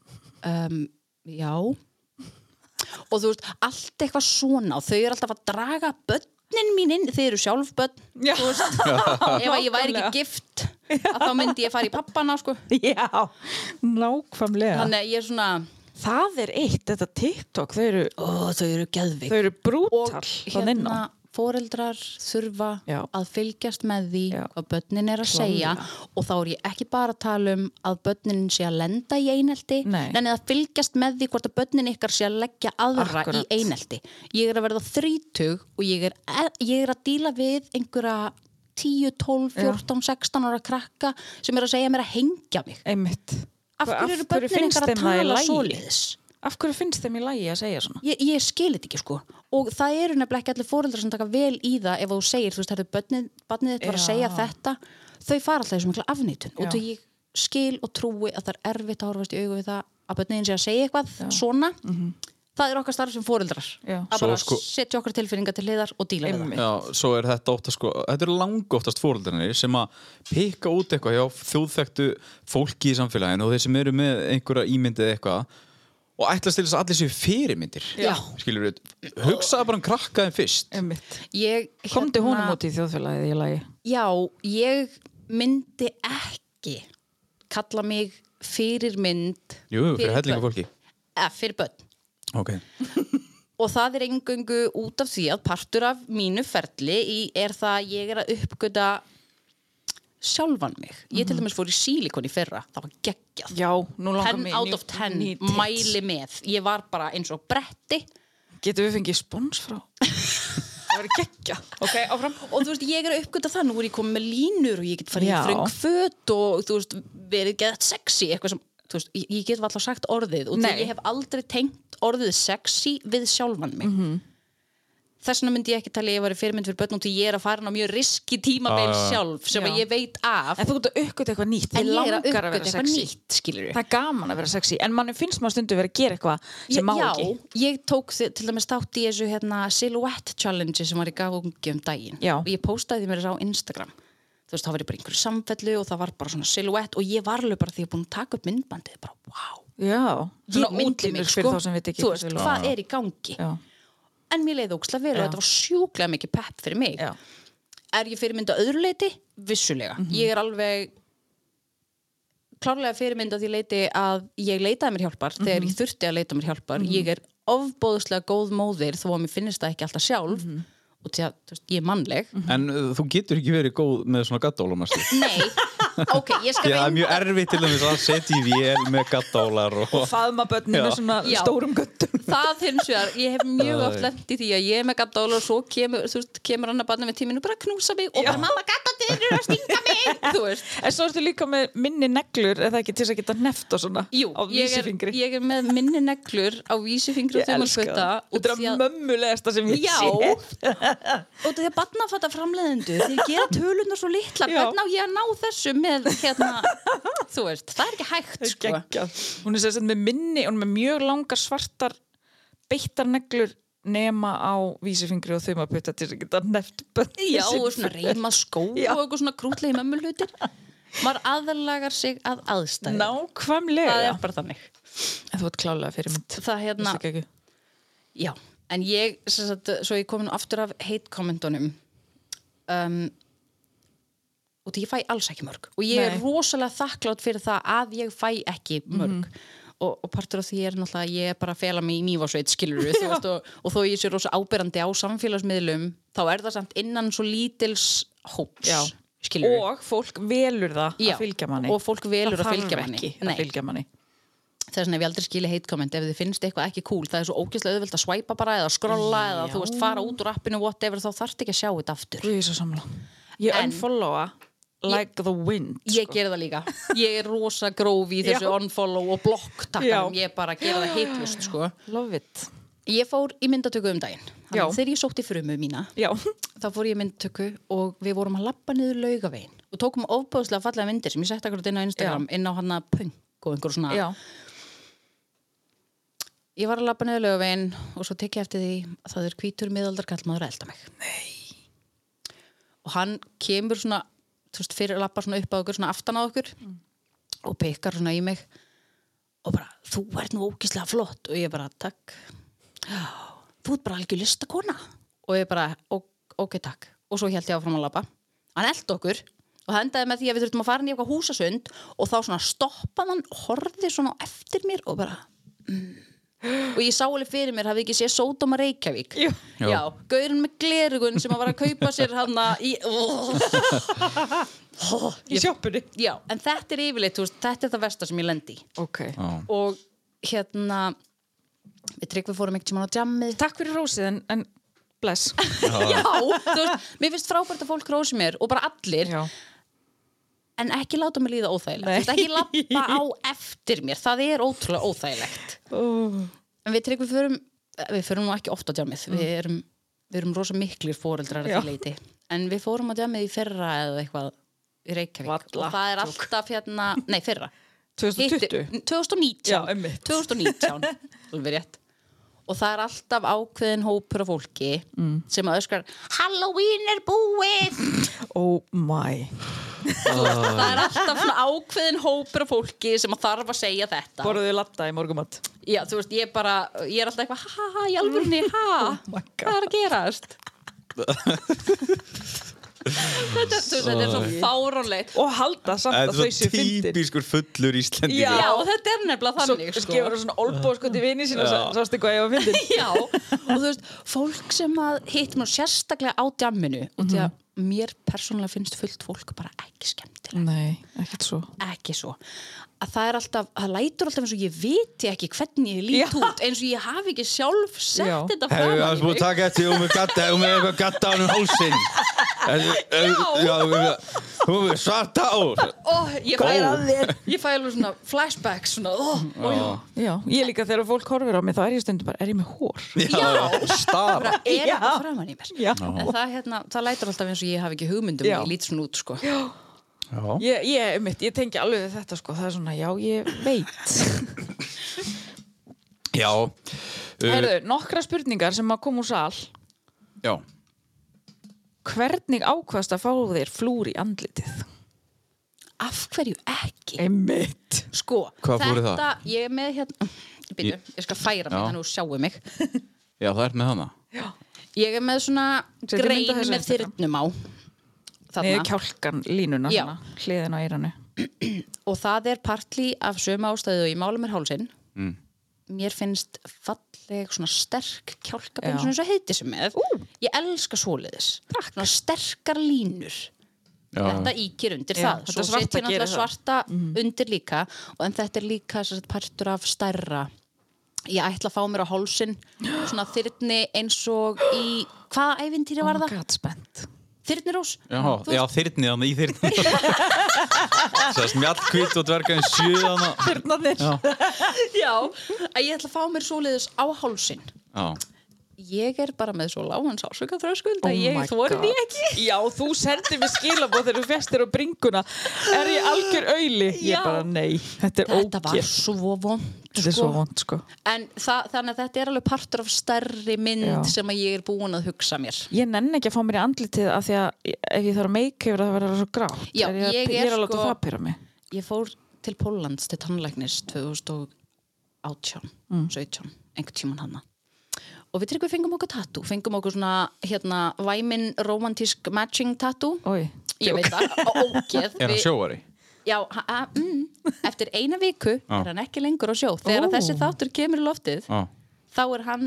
S4: um, já og þú veist, allt eitthvað svona og þau eru alltaf að draga börnin mín inn, þau eru sjálf börn
S3: Já.
S4: þú veist, ef að ég væri
S3: Nákvæmlega.
S4: ekki gift að þá myndi ég fara í pappana sko.
S3: já, nákvæmlega
S4: þannig að ég er svona
S3: það er eitt, þetta TikTok þau eru,
S4: ó, þau eru geðvik
S3: þau eru brútal
S4: og
S3: hérna,
S4: hérna foreldrar þurfa
S3: Já.
S4: að fylgjast með því
S3: Já.
S4: hvað börnin er að
S3: Klárlega.
S4: segja og þá er ég ekki bara að tala um að börnin sé að lenda í einelti
S3: Nei.
S4: en að fylgjast með því hvort að börnin ykkar sé að leggja aðra
S3: Akkurat.
S4: í einelti ég er að verða þrítug og ég er, e, ég er að díla við einhverja 10, 12, 14, 16 ára krakka sem er að segja mér að hengja mig
S3: einmitt
S4: af
S3: Hvað-
S4: hverju eru börnin
S3: finnst
S4: ykkar
S3: þeim það
S4: að
S3: í
S4: tala
S3: lagi?
S4: svoleiðis
S3: af hverju finnst þeim í lagi að segja svona
S4: ég, ég skil þetta ekki sko og það eru nefnilega ekki allir fóreldrar sem taka vel í það ef þú segir, þú veist, þetta er barnið þitt var að
S3: Já.
S4: segja þetta þau fara alltaf þessum mikla afnýtun og
S3: Já.
S4: þau ég skil og trúi að það er erfitt að horfast í augu við það að börniðin sé að segja eitthvað svona það er okkar starf sem fóreldrar
S3: Mhm. Já.
S4: að
S5: Svo
S4: bara
S5: sko-
S4: setja okkar tilfinningar til hliðar og díla við það
S3: Einmitt.
S5: Já, svo er þetta oftast sko, þetta eru langoftast fóröldarnir sem að pikka út eitthvað hjá þjóðþektu fólki í samfélaginu og þeir sem eru með einhverja ímyndið eitthvað og ætlast til þess að allir séu fyrirmyndir
S4: Já.
S5: skilur við, hugsaða bara um krakkaðin fyrst
S3: einmitt
S4: ég, hérna,
S3: komdu honum út í þjóðfélagið í lagi
S4: Já, ég myndi ekki kalla mig fyrirmynd
S5: Jú, fyrir
S4: Fyrir
S5: hellinga
S4: börn.
S5: fólki
S4: eða fyrir börn
S5: Ok,
S4: og það er engöngu út af því að partur af mínu ferli í, er það að ég er að uppgöta sjálfan mig ég til dæmis fór í sílikon í fyrra það var geggjað
S3: já, nú Mhm. langar
S4: 10
S3: mig
S4: out of 10 mæli með ég var bara eins og bretti
S3: getum við fengið spons frá það verður geggja ok, áfram
S4: og þú veist, ég er að uppgöta það, nú er ég komið með línur og ég get farið
S3: Já.
S4: í þröng föt og þú veist, verið geðat sexy eitthvað sem, þú veist, ég- ég get alltaf sagt orðið og því
S3: Nei.
S4: ég hef aldrei tengt orðið sexy við sjálfan mig
S3: Mhm.
S4: þess vegna myndi ég ekki tala að ég var fyrirmynd fyrir börn og því ég er að fara ná mjög riski tímabeil
S5: Já, já, já.
S4: sjálf sem að
S3: Já.
S4: ég veit af
S3: en þú getur uppgötu eitthvað nýtt Þig
S4: en ég er að
S3: langar
S4: uppgöta
S3: vera
S4: eitthvað
S3: sexy.
S4: nýtt skilur
S3: það er gaman að vera sexy en mann finnst maður stundu verið að gera eitthvað sem má
S4: já,
S3: ekki
S4: ég tók þi- til dæmis þátt í þessu hérna, silhouette challenge sem var í gangi um daginn
S3: Já.
S4: og ég postaði því mér þess á Instagram þú veist, það var ég bara í einhverju samfellu og það var bara svona silhouette og ég var alveg bara því ég er búin að taka upp myndbandið bara, wow,
S3: já,
S4: ég
S3: svona
S4: myndi
S3: útlínur
S4: mig
S3: fyrir
S4: sko,
S3: þá sem við ekki
S4: þú veist, hvað er í gangi
S3: já,
S4: en mér leiði óksla vel og
S3: Já.
S4: þetta var sjúklega mikið pepp fyrir mig
S3: já,
S4: er ég fyrirmynd á öðru leiti? Vissulega. Ég er alveg klárlega fyrirmynd á því leiti að ég leitaði mér hjálpar þegar ég þurfti að leita mér hjálpar. Ég er ofbóðslega góð móðir þó að mér finnist það ekki alltaf sjálf og því að þú veist, ég er mannleg.
S1: Mhm.
S5: en uh, þú getur ekki verið góð með svona gattólamastu
S4: Nei, ok, ég skal
S5: Já, það er
S4: reynda-
S5: mjög erfitt til þess að setja í vél með gattólar og...
S3: faðma börninu
S5: Já.
S3: svona
S4: Já.
S3: stórum göttum
S4: það hins vegar, ég hef mjög
S5: Æ.
S4: oft lent í því að ég er með gattdóla og svo kemur, þú veist, kemur annar barnið með tíminu bara að knúsa mig og bara mamma gattadýr er að stinga mig, þú veist.
S3: en svo ertu líka með minni neglur eða ekki til þess að geta neft og svona
S4: Jú,
S3: á
S4: ég er,
S3: vísifingri
S4: ég er með minni neglur á vísifingri og þumalfötta
S3: þetta
S4: út
S3: er
S4: því
S3: að
S4: að,
S3: mömmulegasta sem ég
S4: Já.
S3: sé
S4: út af því að barnafata framleiðendur þeir gera tölunar svo litla
S3: Já.
S4: hvernig á ég að ná þessu með hérna, þú veist, það er ekki hægt sko.
S3: Geggjað. hún er sem sagt með minni hún er með mjög langar svartar beittar neglur nema á vísifingri og þau maður putta til þess að geta neft börn
S4: Já,
S3: sín.
S4: og svona reyma skó
S3: Já.
S4: og eitthvað svona krútlegi mömmulutir maður aðlagar sig að aðstæði
S3: nákvæmlega
S4: það er bara þannig
S3: En þú ert klálega fyrir mynd
S4: það hérna,
S3: Veistu ekki?
S4: já, en ég sem sagt, svo ég komin aftur af heitkommentunum um, og því ég fæ alls ekki mörg og ég
S3: Nei. Mhm.
S4: er rosalega þakklátt fyrir það að ég fæ ekki mörg og, og partur af því er náttúrulega að ég er bara að fela mig í nýfásveit skilur þú veist og, og þó ég sé rosa ábyrrandi á samfélagsmiðlum þá er það samt innan svo lítils hóps
S3: Já.
S4: skilur
S3: og fólk velur það
S4: Já,
S3: að fylgja manni
S4: og fólk velur að fylgja
S3: þarf
S4: manni.
S3: ekki
S4: Nei.
S3: að fylgja manni
S4: þess vegna hef ég aldrei skilið heitkomment ef þið finnst eitthvað ekki cool, það er svo ógeðslega auðvelt að swipa bara eða skrolla eða þú veist fara út úr appinu whatever, þá þarft ekki að sjá þetta aftur
S3: Guð, ég er svo sammála. ég
S4: En-
S3: unfollowa like the wind
S4: ég gerði það líka, ég er rosa gróf í þessu
S3: Já.
S4: unfollow og block takkanum
S3: Já.
S4: ég bara gera það heitlust sko
S3: love it
S4: ég fór í myndatöku um daginn Þannig
S3: Já.
S4: að þegar ég sótti frumu mína
S3: já,
S4: þá fór ég í myndtöku og við vorum að lappa niður laugavegin og tókum ofbáðslega fallega myndir sem ég sett akkur inn á Instagram, inn á hana punk og einhver svona
S3: já.
S4: Ég var að labba niður lögavegin og svo tekja eftir því að það er hvítur miðaldar kallmaður að elda mig. Nei. Og hann kemur svona, þú veist, fyrir að labba svona upp á okkur, svona aftan á okkur og pekar svona í mig og bara, þú ert nú ókíslega flott og ég bara, takk. Þú ert bara algjör listakona. Og ég bara, "Ok- ok, takk. Og svo held ég áfram að labba. Hann elda okkur og það endaði með því að við þurftum að fara inn í eitthvað húsasund og þá svona stoppaði hann, horfði svona á eftir mér og bara, "Mm." og ég sá alveg fyrir mér hafði ekki séð Sódóma Reykjavík
S3: Jú.
S5: Já.
S4: já, gaurin með glerugun sem að var að kaupa sér hann í
S3: Í sjoppunni.
S4: já, en þetta er yfirleitt þú veist, þetta er það versta sem ég lendi í.
S3: Ok.
S5: Já.
S4: og hérna við tryggum fórum ekkert sem hann á jammið
S3: Takk fyrir rósið en, en bless.
S4: já, þú veist, mér finnst frábært að fólk rósi mér og bara allir
S3: Já.
S4: en ekki láta mig líða óþægilegt
S3: Nei.
S4: Þú veist, ekki lappa á eftir mér það er ótrúlega óþægilegt en við tryggum förum við förum nú ekki oft á djamið við erum, við erum rosa miklir fóreldrar að
S3: Mm. Já.
S4: því leiti en við fórum á djamið í fyrra eða eitthvað í Reykjavík
S3: Valla.
S4: og það er alltaf hérna, nei fyrra
S3: 2020.
S4: Hittir- 2019
S3: Já, einmitt.
S4: 2019, alveg rétt og það er alltaf ákveðin hópur af fólki
S3: Mm.
S4: sem að öskar Halloween er búið
S3: Oh my.
S4: það er alltaf svona ákveðin hópur af fólki sem að þarf að segja þetta
S3: Borðuðu latta í morgumatt.
S4: já, þú veist, ég bara, ég er alltaf eitthvað ha ha ha, í alvörunni, ha
S3: Oh my God.
S4: hvað er að gerast þetta, þú veist, þetta er svo fáránlegt
S3: Og halda samt að
S5: Þetta er
S3: þau séu
S5: svo
S3: fyndir.
S5: típiskur fullur Íslandi
S3: Já.
S4: já, og þetta er nefnilega
S3: Svo
S4: þannig sko.
S3: gefur það svona olbóð sko til vini sín og
S5: Já.
S3: sástu hvað ég var fyndir.
S4: Já, og þú veist, fólk sem að hittum og sérstaklega á djamminu og því að
S3: Mhm.
S4: mér persónulega finnst fullt fólk bara ekki skemmtilega,
S3: Nei, ekkert svo.
S4: ekki svo að það er alltaf, það lætur alltaf eins og ég viti ekki hvernig ég lít
S3: Já.
S4: út eins og ég hafi ekki sjálf sett
S3: Já.
S4: þetta fram
S5: Hefur það búið að taka eftir og með gatta og með eitthvað gatta á hann um hálsinn Já Hún er svarta á
S4: Ó, ég fæ,
S5: Góð.
S4: alveg, ég fæ alveg svona flashbacks svona, ó, ó,
S3: Já, ég líka þegar fólk horfir á mig þá er ég stundum bara, er ég með hór?
S5: Já, star
S4: bara er
S3: Já.
S4: þetta framan í mér
S3: Já.
S4: en það, hérna, það lætur alltaf eins og ég hafi ekki hugmyndum
S3: Já.
S4: ég lít svona út, sko
S5: Já,
S3: Ég, ég, mitt, ég tengi alveg við þetta sko, það er svona, já, ég veit.
S5: já Uh,
S3: Herðu, nokkra spurningar sem að koma úr sal.
S5: Já
S3: Hvernig ákvast að fá þér flúr í andlitið?
S4: af hverju ekki?
S3: Einmitt.
S4: Sko,
S5: Hvað fór í
S4: þetta,
S5: það?
S4: ég er með hérna Býtu, ég, skal færa mig
S5: Já.
S4: þannig að þú sjáu mig
S5: Já, það ert með hana
S4: Ég er með svona
S3: Setjum mynd af
S4: grein
S3: þessu
S4: með
S3: Instagram.
S4: þyrnum á
S3: Niður
S4: Þarna,
S3: kjálkan línuna,
S4: Já.
S3: svona, hliðin á eiranu.
S4: og það er partli af sömu ástæðu og ég mála mér hálsinn Mér finnst falleg svona sterk kjálkabein
S3: Já.
S4: svona eins og heiti sem með Ég elska svoleiðis Takk. Svona sterkar línur Þetta íkir undir
S3: Já,
S4: það
S3: þetta
S4: Svo
S3: svarta
S4: setjum
S3: gerir
S4: alltaf
S3: það. Mhm.
S4: svarta undir líka og en þetta er líka sem sagt, partur af stærra Ég ætla að fá mér á hálsin svona þyrni eins og í hvaða ævintýri var það?
S3: Gat spennt.
S4: Þyrnirós?
S5: Já,
S4: Þú
S5: já þyrnið hann í þyrnið Svo smjallkvitt og dvergaðin sjöðan
S3: Þyrnarnir.
S4: Já, að ég ætla að fá mér svoleiðis á hálsin
S5: Já,
S4: Ég er bara með svo lágan sásöka þröskuld
S3: Oh
S4: að ég
S3: my
S4: þorir því
S3: God.
S4: ekki
S3: Já, þú sendir mér skilabóð þegar þú festir á bringuna. Er ég algjör auðli?
S4: Já.
S3: Ég bara, nei, þetta er
S4: Þetta var
S3: ógjör.
S4: svo vond
S3: Þetta er
S4: sko.
S3: svo vond, sko.
S4: En það, þannig að þetta er alveg partur af stærri mynd
S3: Já.
S4: sem að ég er búin að hugsa mér
S3: Ég nenni ekki að fá mér í andlitið af því að ef ég þarf að make yfir það verður það svo grátt.
S4: Já,
S3: er ég,
S4: ég
S3: að-
S4: er
S3: ég er að láta
S4: sko-
S3: það pyrra mig.
S4: Ég fór til Póllands til tannlæknis 2018
S3: Mm.
S4: 17, einhvern tíman hana og við tryggum fengum okkur tattoo fengum okkur svona hérna væmin romantísk matching tattoo
S3: Ói.
S4: ég veit það, ó- ógeð
S5: er hann
S4: Við-
S5: sjóari?
S4: Já, ha- a- mm, eftir eina viku
S5: Já.
S4: er hann ekki lengur á sjó þegar
S3: Ó.
S4: þessi þáttur kemur í loftið
S5: Já
S4: þá er hann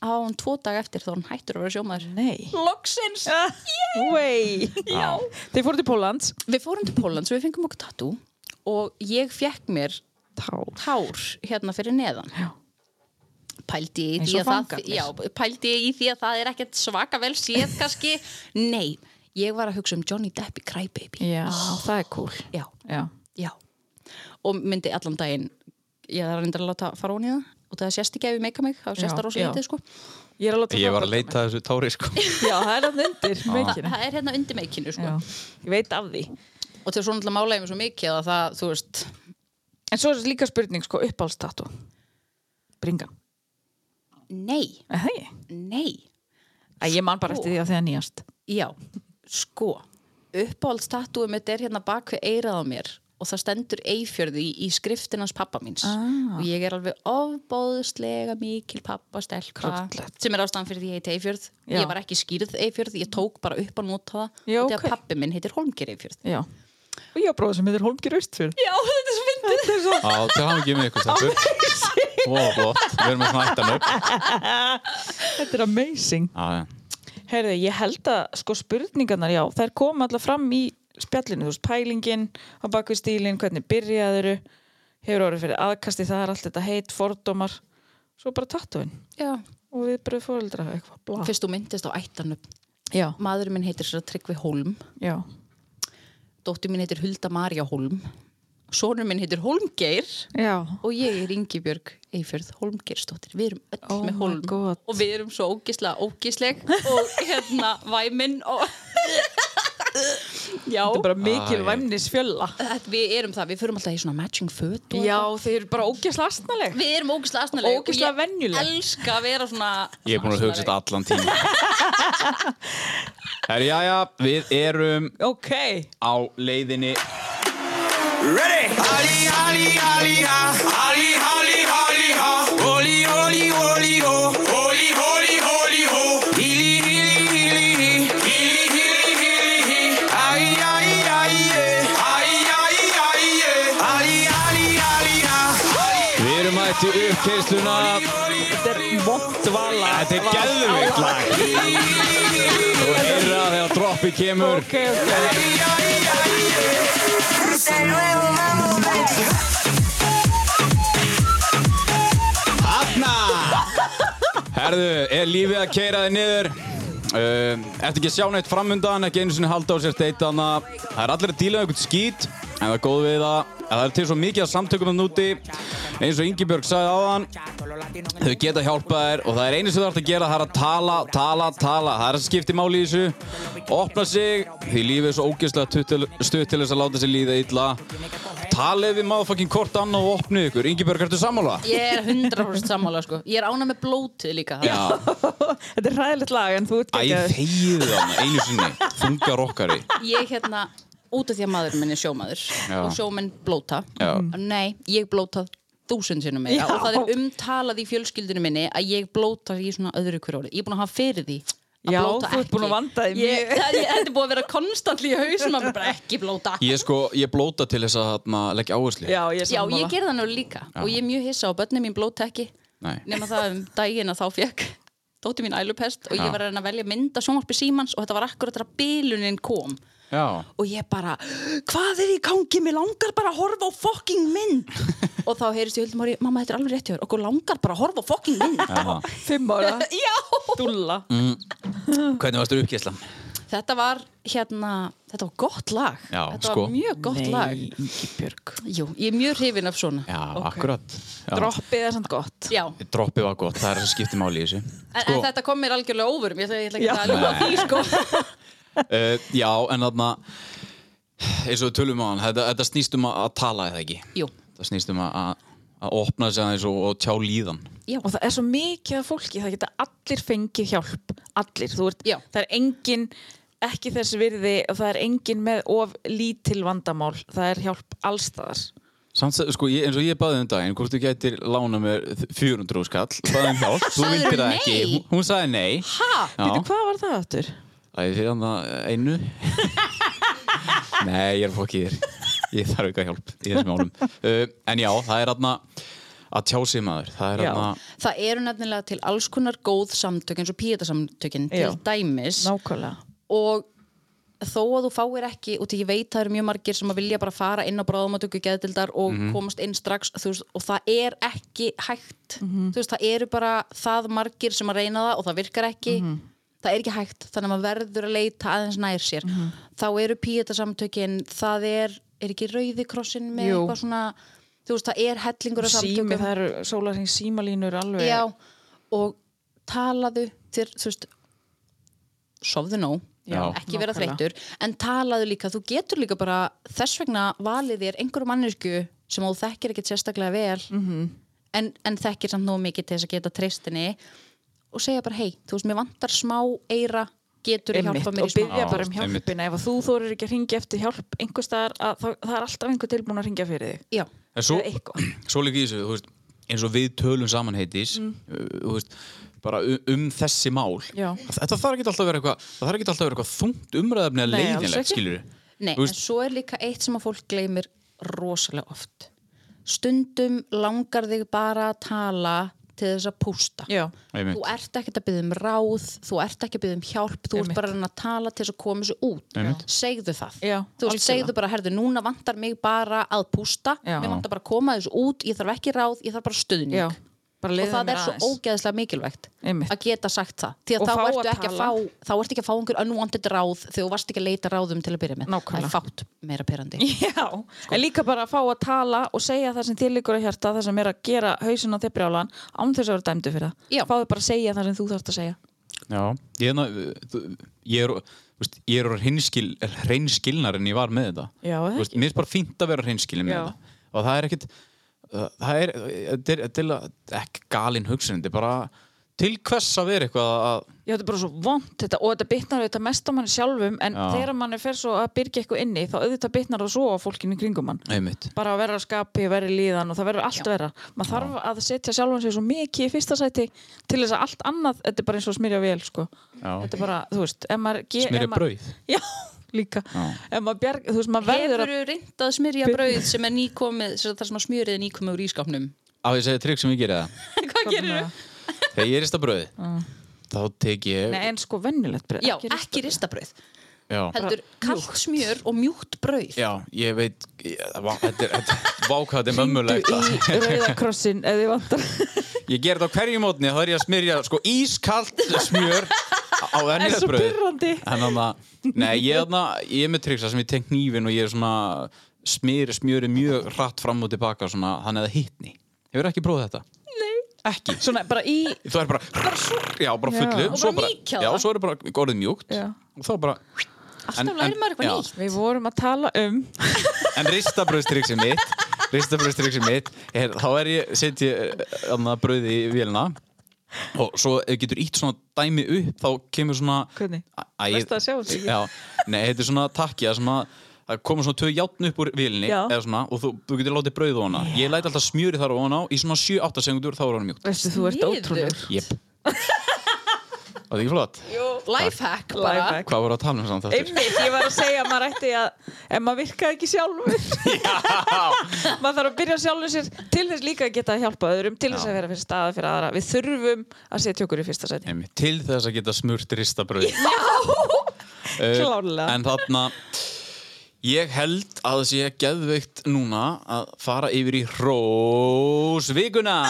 S4: á hann tvo dag eftir þá er hann hættur að vera sjómaður
S3: Nei.
S4: Loksins!
S3: Way. Já. Þeir fóru til Pólans.
S4: Við fórum til Pólans og við fengum okkur tattoo og ég fekk mér
S3: Tár.
S4: tár hérna fyrir neðan
S3: Já.
S4: pældi ég í
S3: Eins
S4: því
S3: og
S4: að það
S3: fangarnir.
S4: já, pældi ég í því að það er ekkert svaka vel séð kannski, nei ég var að hugsa um Johnny Depp í Crybaby
S3: Já, það er cool.
S4: já,
S3: Já.
S4: Já, og myndi allan daginn ég þarf reyndar að láta fara hún í það og það sést ekki ef ég meika mig, þá sést
S3: Já,
S4: það rosa
S3: já.
S4: lítið sko
S3: Ég er að láta
S5: Ég
S3: það
S5: var
S3: bögga
S5: að
S3: mig.
S5: leita að þessu tári sko
S3: Já, það er hann undir.
S4: Þa,
S3: Meikinu.
S4: það er hérna undir meikinu sko
S3: Já. Ég veit af því.
S4: og til svona alltaf mála ég mér svo mikið að það, þú veist
S3: En svo er líka spurning, sko, uppáhaldstatu. Bringan.
S4: nei,
S3: Hei.
S4: nei,
S3: Æ, ég man bara eftir því að það er nýjast.
S4: já sko, uppáhaldstatúi mitt er hérna bak við eirað á mér og það stendur eifjörði í, í skriftin hans pappa míns
S3: Ah.
S4: og ég er alveg ofbóðslega mikil pappa stelka
S3: Krúttlegt.
S4: sem er ástæðan fyrir því ég heiti Eifjörð
S3: Já.
S4: ég var ekki skýrð Eifjörð, ég tók bara upp að nota það
S3: Já,
S4: og því að
S3: ok.
S4: pappi minn heitir Holmgir Eifjörð
S3: Já. Og ég á bróða sem heitir Holmgir Austfjörð.
S4: Já, þetta er svo fyndið
S5: Já, til hann ekki með ykkur þetta Wow, flott, við erum að snæta hann upp
S3: Þetta er amazing.
S5: Já, já.
S3: Herði, ég held að sko spurningarnar, já, þær koma alltaf fram í spjallinu, þú veist, pælingin á bakvið stílinn, hvernig byrjaðuru hefur orðið fyrir aðkasti, það er allt þetta heit, fordómar, svo bara tattuinn
S4: Já.
S3: og við bara fóreldra eitthvað, blá.
S4: Fyrst þú myndist á ættanum.
S3: Já,
S4: Maðurinn minn heitir sér að Tryggvi Hólm.
S3: já.
S4: Dóttir minn heitir Hulda Marja Hólm. Sónur minn heitir Hólmgeir.
S3: Já.
S4: Og ég er Ingibjörg Eifjörð Hólmgeirsdóttir. Við erum öll
S3: Oh my
S4: með Hólm.
S3: God.
S4: Og við erum svo ógislega ógisleg og hérna væminn og... Já.
S3: Þetta er bara mikil ah,
S5: Ah, já.
S3: væmnisfjölla.
S4: Þetta- Við erum það, við förum alltaf í svona matching föt og
S3: Já, þeir eru bara ógæsla astnaleg.
S4: Við erum ógislega asnaleg
S3: Ógeðslega venjuleg.
S4: Ég elska að vera svona
S1: Ég er búin að hugsa þetta allan tíma Herri, já, já, við erum
S3: Ok.
S1: á leiðinni
S2: Ready! Ali, Ali, Ali, ha. Ali, Ali, Ali, ha. Oli, Oli, Oli, ho. Oli, Oli, Oli, ho. Hili, hili, hili, hi. Hili, hili, hili, hi. Ai, ai, ai, yeah. Ai, ai, ai, yeah. Ali, Ali, Ali, ha.
S1: Við erum mætti uppkeisluna
S3: Þetta er vond vala.
S1: Þetta er geðveikt lag Þú heyra þegar droppi kemur
S3: Ok, ok.
S1: Hanna Herðu, er lífið að keira þig niður? Um, eftir ekki að sjá neitt framundan, ekki einu sinni halda á sér steitana Það er allir að díla um einhvern skít En það er góð við það að Það er til svo mikið að samtökum að núti Eins og Ingibjörg sagði áðan Þau geta hjálpað þér og það er einu sem þú ert að gera Það er að tala, tala, tala Það er að skipti máli í þessu Opna sig, því lífið er svo ógeðslega tuttul- stutt til þess að láta sér líða illa Talið við motherfucking hvort annað og opnið ykkur Ingibjörg, ertu sammála?
S4: Ég er 100% sammála sko Ég er ána með blótið líka
S1: Já
S3: Þetta er ræðilegt lag en þú ert
S1: Æ,
S3: geggjaður.
S1: þegið þarna, einu sinni, þungar okkari.
S4: Ég hérna, út af því að maður minn er sjómaður
S1: Já.
S4: Og sjómenn blóta Mm.
S1: Já.
S4: Nei, ég blóta þúsund sinnum meira
S3: Já.
S4: Og það er umtalað í fjölskyldinu minni Að ég blóta í svona öðru hverju orðið Ég er búin að hafa fyrir því að
S3: Já,
S4: blóta
S3: þú ert
S4: ekki.
S3: búin að vanda þig
S4: Ég-
S3: mjög.
S4: það- ég- Þetta er búin að vera konstant í hausum að bara ekki blóta
S1: Ég sko, ég blóta til þess að þarna, leggja áherslu.
S3: Já, ég er
S4: Já,
S3: sammála.
S4: ég ger það nú líka og ég er mjög hissa á börnum mín blóta ekki
S1: Nei.
S4: nema það um daginn að þá fekk dóttir mín ælupest og ég
S1: Já.
S4: var að reyna að velja mynda sjónvarpi símans og þetta var akkurat þegar bilunin kom
S1: Já.
S4: og ég bara, hvað er í gangi mér langar bara að horfa á fokking mynd og þá heyrist ég höldum ári, mamma þetta er alveg rétt hjá þér okkur langar bara að horfa á fokking mynd
S1: Aha.
S3: Fimm ára.
S4: Já,
S3: Dúlla.
S1: Mm. Hvernig varstu uppgæslan?
S4: þetta var hérna þetta var gott lag,
S1: Já,
S4: þetta
S1: sko.
S4: var mjög gott lag
S3: Ígibjörg.
S4: Jú, ég er mjög hrifin af svona
S1: Já, akkurat. Já.
S3: Droppið er samt gott.
S4: Já.
S1: Droppið var gott, það er það sem skiptir máli í þessu. Sko,
S4: En, en þetta kom mér algjörlega óvörum, ég ætla ég ætla ekki
S3: Já.
S4: að ljúga því sko
S1: uh, já, en þarna, eins og við tölum á hann, þetta, þetta snýst um að, að tala eða ekki.
S4: Jú.
S1: Það snýst um að, að, að opna sig aðeins og, og tjá líðan.
S4: Já.
S3: Og það er svo mikið af fólki, það geta allir fengið hjálp. Allir. Þú Ert,
S4: Já.
S3: það er engin, ekki þess virði og það er engin með of lítil vandamál. Það er hjálp allstaðar.
S1: Samt, sem- sko, ég, eins og ég baði um daginn, hvort þú gætir lána mér 400 skall, baði um hjálp, þú
S4: Sagðirðu
S1: vildir það ekki,
S4: nei?
S1: hún, hún sagði nei.
S4: Ha?
S1: Já.
S3: Veitu, hvað var það aftur?
S1: Það er fyrir hann að hérna einu Nei, ég er fokkið þér Ég þarf ekki að hjálp í þessum álum uh, En já, það er hann að tjá sig maður Það er hérna-
S3: Já.
S1: hann að
S4: Það eru nefnilega til alls konar góð samtök eins og píetasamtökin til
S3: Já.
S4: dæmis
S3: Nákvæmlega.
S4: og þó að þú fáir ekki og því ég veit það eru mjög margir sem að vilja bara fara inn á bráðumatöku geðdildar og komast inn strax þú veist, og það er ekki hægt
S3: Mhm.
S4: þú veist, það eru bara það margir sem að reyna það og það virkar ekki
S3: Mhm.
S4: það er ekki hægt, þannig að maður verður að leita aðeins nær sér
S3: Mhm.
S4: þá eru píetasamtökin, það er er ekki rauði krossin með
S3: Jú.
S4: eitthvað svona þú veist, það er hellingur af samtökum
S3: Sími, það eru sólarheng símalínur alveg.
S4: Já, og talaðu þér, þú veist sofðu nóg,
S1: Já.
S4: ekki vera
S3: Nákvæmlega.
S4: þreyttur en talaðu líka, þú getur líka bara þess vegna valið þér einhverju mannesku sem þú þekkir ekkit sérstaklega vel
S3: Mhm.
S4: -hmm. en, en þekkir samt nóg mikið til þess að geta treystinni og segja bara, hei, þú veist, mér vantar smá eira, getur að
S3: Einmitt,
S4: hjálpa mér
S3: og
S4: í smá
S3: byrja
S1: Já,
S3: bara um
S1: einmitt.
S3: hjálpina ef að þú þorir ekki að ringja eftir hjálp einhvers staðar, að, það, það er alltaf einhver tilbúin að ringja fyrir þig
S4: Já,
S1: En svo,
S3: Eða eitthvað.
S1: svo líka í þessu, þú veist eins og við tölum saman heitis
S3: Mm.
S1: uh, þú veist, bara um, um þessi mál
S3: Já.
S1: þetta þarf ekki alltaf að vera eitthvað það þarf ekki alltaf að vera eitthvað þungt umræðafni að
S3: Nei, alls
S1: leiðinlegt,
S3: ekki.
S1: skilur
S4: Nei,
S1: Þú
S4: en
S1: veist-
S4: svo er líka eitt sem að fólk gleymir rosalega oft stundum langar þig bara að tala til þess að pústa
S3: já,
S1: Einmitt.
S4: þú ert ekkert að byggja um ráð þú ert ekki að byggja um hjálp þú
S3: Einmitt.
S4: ert bara að reyna að tala til þess að koma þessu út
S1: Einmitt.
S4: segðu það
S3: Já,
S4: þú veist,
S3: algjörlega.
S4: segðu bara, herðu, núna vantar mig bara að pústa
S3: Já.
S4: mér vantar bara að koma þessu út ég þarf ekki ráð, ég þarf bara stuðning
S3: já bara
S4: og
S3: leiðum
S4: það er svo ógeðslega mikilvægt
S3: Einmitt.
S4: að geta sagt það því
S3: Og
S4: að þá
S3: fá
S4: ertu,
S3: að
S4: ekki að
S3: tala.
S4: fá, þá ertu ekki að fá einhver unwanted ráð þegar þú varst ekki að leita ráðum til að byrja með
S3: Nákvæmlega.
S4: það er fátt meira pyrrandi
S3: Já, en líka bara að fá að tala og segja það sem þér líkur að hjarta, það sem er að gera hausin á þeir brjálan, án þess að vera dæmdu fyrir það.
S4: Já.
S3: Fáðu bara að segja það sem þú þarfst að segja.
S1: Já, ég, hérna, þú- ég er, þú veist, ég er hreinskil, hreinskilnar en ég var með þetta.
S3: Já, það
S1: Þú veist, mér er bara fínt að vera hreinskilin með
S3: Já.
S1: þetta. Og það er ekkit, uh, það er, þetta er, þetta er ekki galin hugsun, þetta er bara til hvers að vera eitthvað að,
S3: Já, þetta er bara svo vond þetta og þetta bitnar auðvitað mest á manni sjálfum en
S1: Já.
S3: þegar manni fer svo að byrja eitthvað inni þá auðvitað bitnar það svo á fólkinu í kringum mann.
S1: einmitt,
S3: Bara að vera að skapi, vera í líðan og það verður allt vera. Maður þarf að setja sjálfan sig svo mikið í fyrsta sæti til þess að allt annað, þetta er bara eins og að smyrja vel, sko.
S1: Já.
S3: Þetta er bara, þú veist, ef maður... ge- ef
S1: smyrja
S3: maður-
S1: brauð.
S3: Já, líka.
S1: Já.
S3: Ef maður bjarg, þú veist, maður verður að...
S4: hefur reynd að smyrja brauð sem er nýkomið sem það sem að smjörið er nýkomið úr ískapnum
S1: Á ég að segja trygg sem ég gerði það.
S4: hvað gerir
S3: með
S4: það?
S1: Þegar ég er rista brauðið, þá tek ég,
S3: Mm. Nei, en sko vennilegt breyð.
S4: já, ekki ristabrauð
S1: já,
S4: heldur kallt smjör og mjúkt brauð
S1: já, ég veit, ég, vá, þetta er, þetta, vá, hvað þetta er mömmulegt að.
S3: Í rauðakrossin, ef þið vantar.
S1: Ég ger þetta á hverju mótni þá er ég að smyrja sko ískalt smjör á
S3: En svo
S1: ennjöðbröð
S3: pyrrandi.
S1: En þannig að Nei, ég, þarna, ég er með triksa sem ég tenk nýfin og ég er svona smyr, smjöri mjög hratt fram og tilbaka svona, þannig að það hittni Hefur ekki prófað þetta?
S3: Ekki. Svona bara í...
S1: Þú er bara, já, bara fullu
S3: Já.
S1: og
S4: Og
S1: svo
S4: bara
S1: bara,
S4: mýkja
S1: já,
S4: það.
S1: svo er það bara orðið mjúkt
S3: Já.
S1: og þá bara
S4: alltaf
S1: En- en-
S4: lærir maður
S1: já.
S4: eitthvað nýtt
S3: Við vorum að tala um...
S1: En ristabröðstryksin mitt ristabröðstryksin mitt er, þá er ég, setji annað bröði í vélina og svo ef getur ítt svona dæmi upp þá kemur svona
S3: Hvernig?
S1: Æ, ég-
S3: Verst að sjá þetta ekki.
S1: Já, nei, þetta er svona takki að svona Það komur svona tvö játn upp úr vélinni
S3: Já.
S1: eða svona, og þú, þú getur látið brauð á hana Ég læti alltaf smjöri þar á hana í svona 7-8 segundur þá er hana mjúkt
S3: Veistu, þú ert
S4: Sniðugt.
S3: ótrúlegur.
S1: Jep Var það ekki flott?
S4: lifehack bara
S3: Lifehack.
S1: Hvað voru að tala um samt þáttur?
S3: Einmitt, ég var að segja að maður ætti að en maður virkaði ekki sjálfur maður þarf að byrja sjálfur sér til þess líka að geta að hjálpa öðrum til þess
S1: Já.
S3: að vera fyrir staða fyrir aðra við þurfum að setja okkur í fyrsta sæti
S1: Einmitt, Til þess að geta smurt ristabrauð Já
S3: klárlega.
S1: En þarna Ég held að það sé geðveikt núna að fara yfir í Rósvíkuna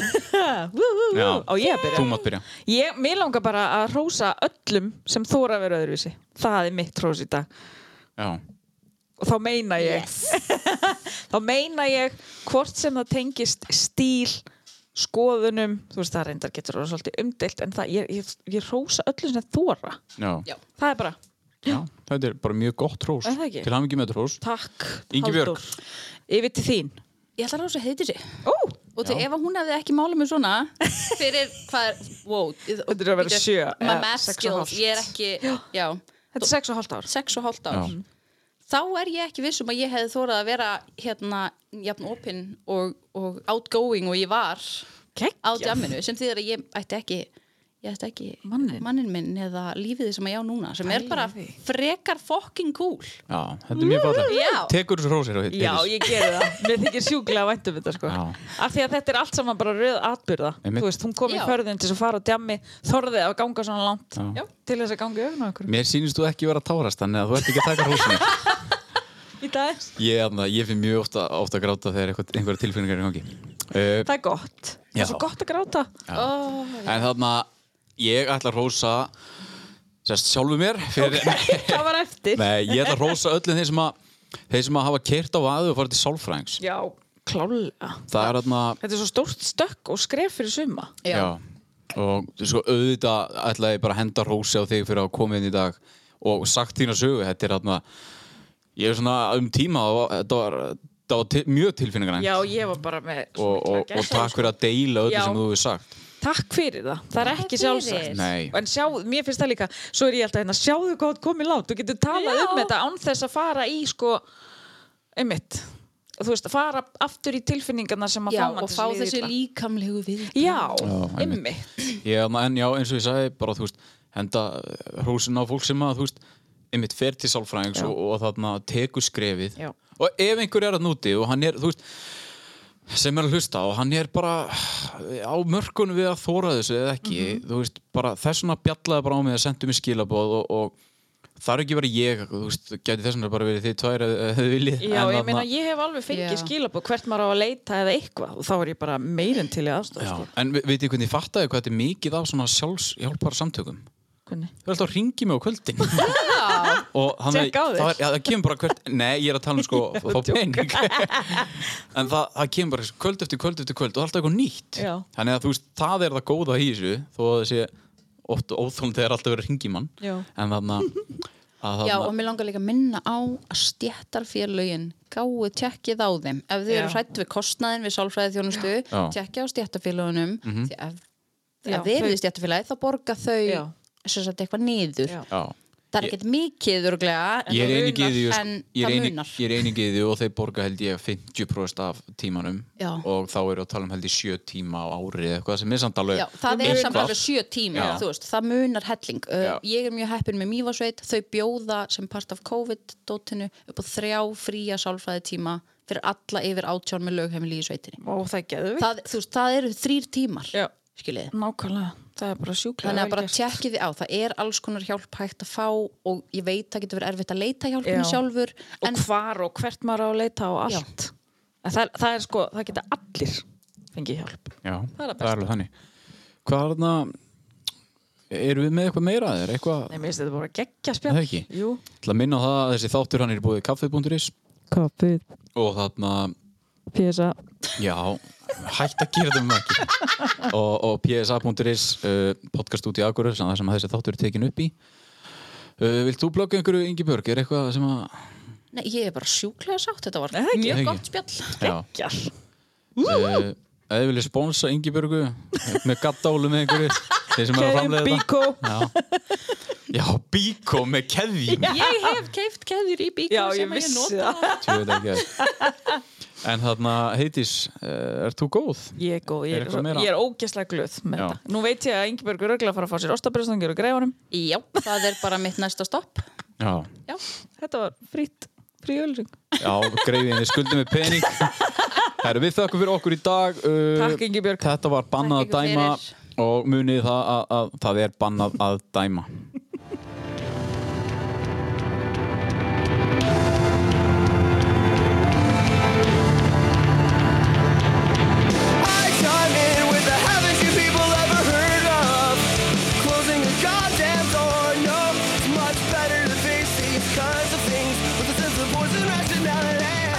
S3: Vú, vú, vú.
S1: Já.
S3: á ég að byrja
S1: Þú mátt byrja
S3: Ég, mér langar bara að hrósa öllum sem þóra að vera öðruvísi. Það er mitt hrós í dag.
S1: Já,
S3: Og þá meina ég, þá meina ég hvort sem það tengist stíl, skoðunum, þú veist það reyndar getur það svolítið umdelt, en það, ég, ég, ég hrósa öllum sem þóra.
S1: já,
S4: Já.
S3: Það er bara,
S1: já Þetta er bara mjög gott rós
S3: Er það ekki?
S1: Til hann ekki með þetta rós
S3: takk,
S1: Ingibjörg.
S3: Halldór. Yfir til þín.
S4: ég ætla að rása heitir sig
S3: Ó,
S4: og til ef að hún hefði ekki málið mér svona fyrir hvað er, wow þetta
S3: er að vera sjö,
S4: my
S3: eða
S4: math
S3: sex og
S4: skills,
S3: hálft.
S4: ég er ekki já,
S3: þetta er sex og hálft ár.
S4: sex og hálft ár
S1: Já.
S4: þá er ég ekki viss um að ég hefði þórað að vera hérna, jafn opinn og, og outgoing og ég var á
S3: Kekja.
S4: jamminu, sem þýðir að ég ætti ekki ég ætti ekki
S3: Manninn.
S4: minn eða lífið sem að ég á núna sem er
S3: Pæli
S4: bara
S3: í því.
S4: frekar fucking cool
S1: Já, þetta er mjög fallegt
S4: Já.
S1: Tekur þessu rósir og
S3: Mm, Já, ég gerði það. Mér þykir sjúklega vænt um þetta sko.
S1: Já.
S3: Af því að þetta er allt saman bara röð atbyrða.
S1: Einmitt.
S3: Þú veist, hún kom í
S4: Já.
S3: förðin til þess að fara á djammi, þorði að ganga svona langt
S1: Já.
S4: Já.
S3: til þess að ganga í öfna okkur.
S1: Mér sýnist þú ekki vera að tárast þannig að þú ert ekki að taka rósinu
S3: Í dag,
S1: Ég, þarna, ég finn mjög ofta, ofta að gráta þegar eitthvað, einhverja tilfinningar er í gangi uh,
S3: það er gott. Það
S1: Já.
S3: er svo gott að gráta.
S1: En þarna, ég ætla að rósa sérst sjálfu mér fyrir,
S3: það var eftir.
S1: Nei, ég ætla að rósa öllum þeir sem að þeir sem að hafa kert á aðu og farið til sálfræðings
S3: Já, klálega.
S1: Það er þarna
S3: Þetta er svo stórt stökk og skref fyrir suma.
S1: já. og sko auðvitað ætla ég bara að henda rósi á þig fyrir að koma inn í dag og sagt þína sögu, þetta er þarna ég er svona um tíma og þetta var, þetta var til, mjög tilfinningarænt
S3: Já, ég var bara með
S1: og,
S3: svo
S1: og,
S3: mikla
S1: og
S3: gæsa.
S1: takk fyrir að deila öllu
S3: Já.
S1: sem þú hefur sagt
S3: Takk fyrir það. Það er ekki
S4: fyrir.
S3: sjálfsagt.
S1: Nei.
S3: En sjá, mér finnst það líka, svo er ég alltaf hérna, sjáðu hvað þú komið látt, þú getur talað
S4: Já.
S3: um þetta án þess að fara í, sko, einmitt, þú veist, fara aftur í tilfinningarna sem að
S4: já,
S3: fá mann
S4: og fá
S3: að líða
S4: þessi
S3: illa.
S4: líkamlegu við
S3: Já,
S1: Já, einmitt.
S3: einmitt.
S1: Ég, þarna, en já, eins og ég sagði, bara þú veist, henda eh, hrósin á fólk sem að, þú veist, einmitt fer til sálfræðings
S3: Já.
S1: og, og þarna tekur skrefið.
S3: Já.
S1: Og ef einhver er að núti og hann er, þú veist, sem er að hlusta og hann er bara eh, á mörkunum við að þóra þessu eða ekki,
S3: Mhm.
S1: þú veist, bara þessuna bjallaði bara á mig að sendu mér skilaboð og, og það er ekki bara ég, þú veist, gæti þessuna bara verið þið tvær ef ef þið viljið.
S3: Já,
S1: en
S3: ég
S1: þarna-
S3: meina, ég hef alveg fengið
S4: Já.
S3: skilabóð hvert maður á að leita eða eitthvað og þá er ég bara meirinn til í aðstof
S1: Já,
S3: sko.
S1: en ve- veitir hvernig ég fattaði hvað þetta er mikið af svona sjálfshjálpar samtökum?
S3: Hvernig?
S1: Þau er alltaf að ringi mig á kvöldin og þannig
S3: Tjekka á þér.
S1: það, ja, það kemur bara hvert Nei, ég er að tala um sko að fá pening En það, það kemur bara kvöld eftir kvöld eftir kvöld og það er alltaf eitthvað nýtt
S3: Já.
S1: Þannig að þú veist, það er það góða í þessu þó að það sé oft óþólum þegar alltaf verið að ringi mann
S3: Já.
S1: En þannig að, að
S4: Já,
S1: þarna-
S4: og mér langar líka að minna á að stjættarfélögin gáu tjekkið á þeim ef þið
S3: Já.
S4: eru hrætt við kostnaðin við sálfræði þjónustu,
S1: Já. Mhm.
S4: tjekkja á stjættarfélögunum mm ef,
S3: Já,
S4: ef þið eru
S3: þau-
S4: í stjættarfélagi þá borga þau
S3: Já.
S4: sem sagt eitthvað niður
S3: Já.
S1: Já.
S4: það er ekkert mikið örglega
S1: Ég er einig í því sko,
S4: en
S1: ég er
S4: það
S1: einig-
S4: munar
S1: ég er einig í því og þeir borga held ég 50% af tímanum
S4: Já.
S1: og þá eru að tala um held ég 7 tíma á ári eða eitthvað sem er samt alveg
S4: Já, það er samt
S1: eitthvað.
S4: alveg sjö tíma,
S1: Já.
S4: þú veist, það munar helling.
S1: Já.
S4: Uh, ég er mjög heppin með Mývasveit, þau bjóða sem part af COVID-dótinu upp á þrjá fría sálfræði tíma fyrir alla yfir átján með lögheimili í sveitinni.
S3: Ó, það geðu við.
S4: Það, þú veist, það eru þrýr tímar,
S3: Já.
S4: skiljiði.
S3: Nákvæmlega, það er bara sjúklega
S4: Þannig að
S3: vel
S4: bara
S3: gert.
S4: tjekkið þið á, það er alls konar hjálp hægt að fá og ég veit það getur verið erfitt að leita hjálpinu
S3: Já.
S4: sjálfur,
S3: og
S4: en
S3: hvar og hvert maður á að leita og
S4: Já.
S3: allt En það, það er sko, það geta allir fengið hjálp
S1: Já,
S3: Það er að
S1: það er alveg þannig Hvað er þarna Erum við með eitthvað meira að þér? Eitthvað,
S3: Nei, mér finnst þetta bara geggja
S1: Er það
S3: spjall
S1: ekki?
S3: Jú,
S1: til að minna á það að þessi þáttur hann er búið kaffið.is
S3: kapið,
S1: og þarna,
S3: pjesa
S1: já hætt að gera þetta með ekki og, og psa.is uh, podcast út í Akurur sem það sem þessi þáttur er tekin upp í uh, Vilt þú blogga einhverju Ingi Björg? Er eitthvað sem að
S4: nei, ég er bara sjúklega sátt, þetta var
S3: Nei, það er ekki.
S1: Nei,
S4: mjög
S1: ekki.
S4: gott spjall.
S1: Já,
S3: Gjall
S1: uh, eða vilja sponsa Ingi Björgu með gattálu með einhverju þeir sem er að
S3: Keim,
S1: framlega þetta
S3: bíkó
S1: Já, já bíkó með keðjum
S4: Ég hef keift keður í
S3: Já, ég
S4: bíkur sem að ég
S3: vissi
S4: nota.
S3: það
S1: Tjóðu þetta ekki En þarna, Heitis, uh, er þú góð?
S3: Ég er
S1: Er
S3: góð, ég er,
S1: eitthvað
S3: svo,
S1: meira?
S3: ég er ógeslega glöð með
S1: Já.
S3: þetta Nú veit ég að Ingeborg er örgulega að fara að fá sér ostabrjóðstangir og greifunum
S4: Já, það er bara mitt næsta stopp.
S1: Já,
S4: Já.
S3: Þetta var frýtt, fríölusing
S1: já greiðinni skuldum við pening Herru, við þökkum fyrir okkur í dag uh,
S3: Takk Ingeborg
S1: Þetta var bannað að
S4: Takk ykkur
S1: dæma
S4: fyrir.
S1: og munið það að, að það er bannað að dæma
S2: I chime in with the haven't you people ever heard of? Closing the goddamn door, no. It's much better to face these kinds of things with a sense of force and rationality.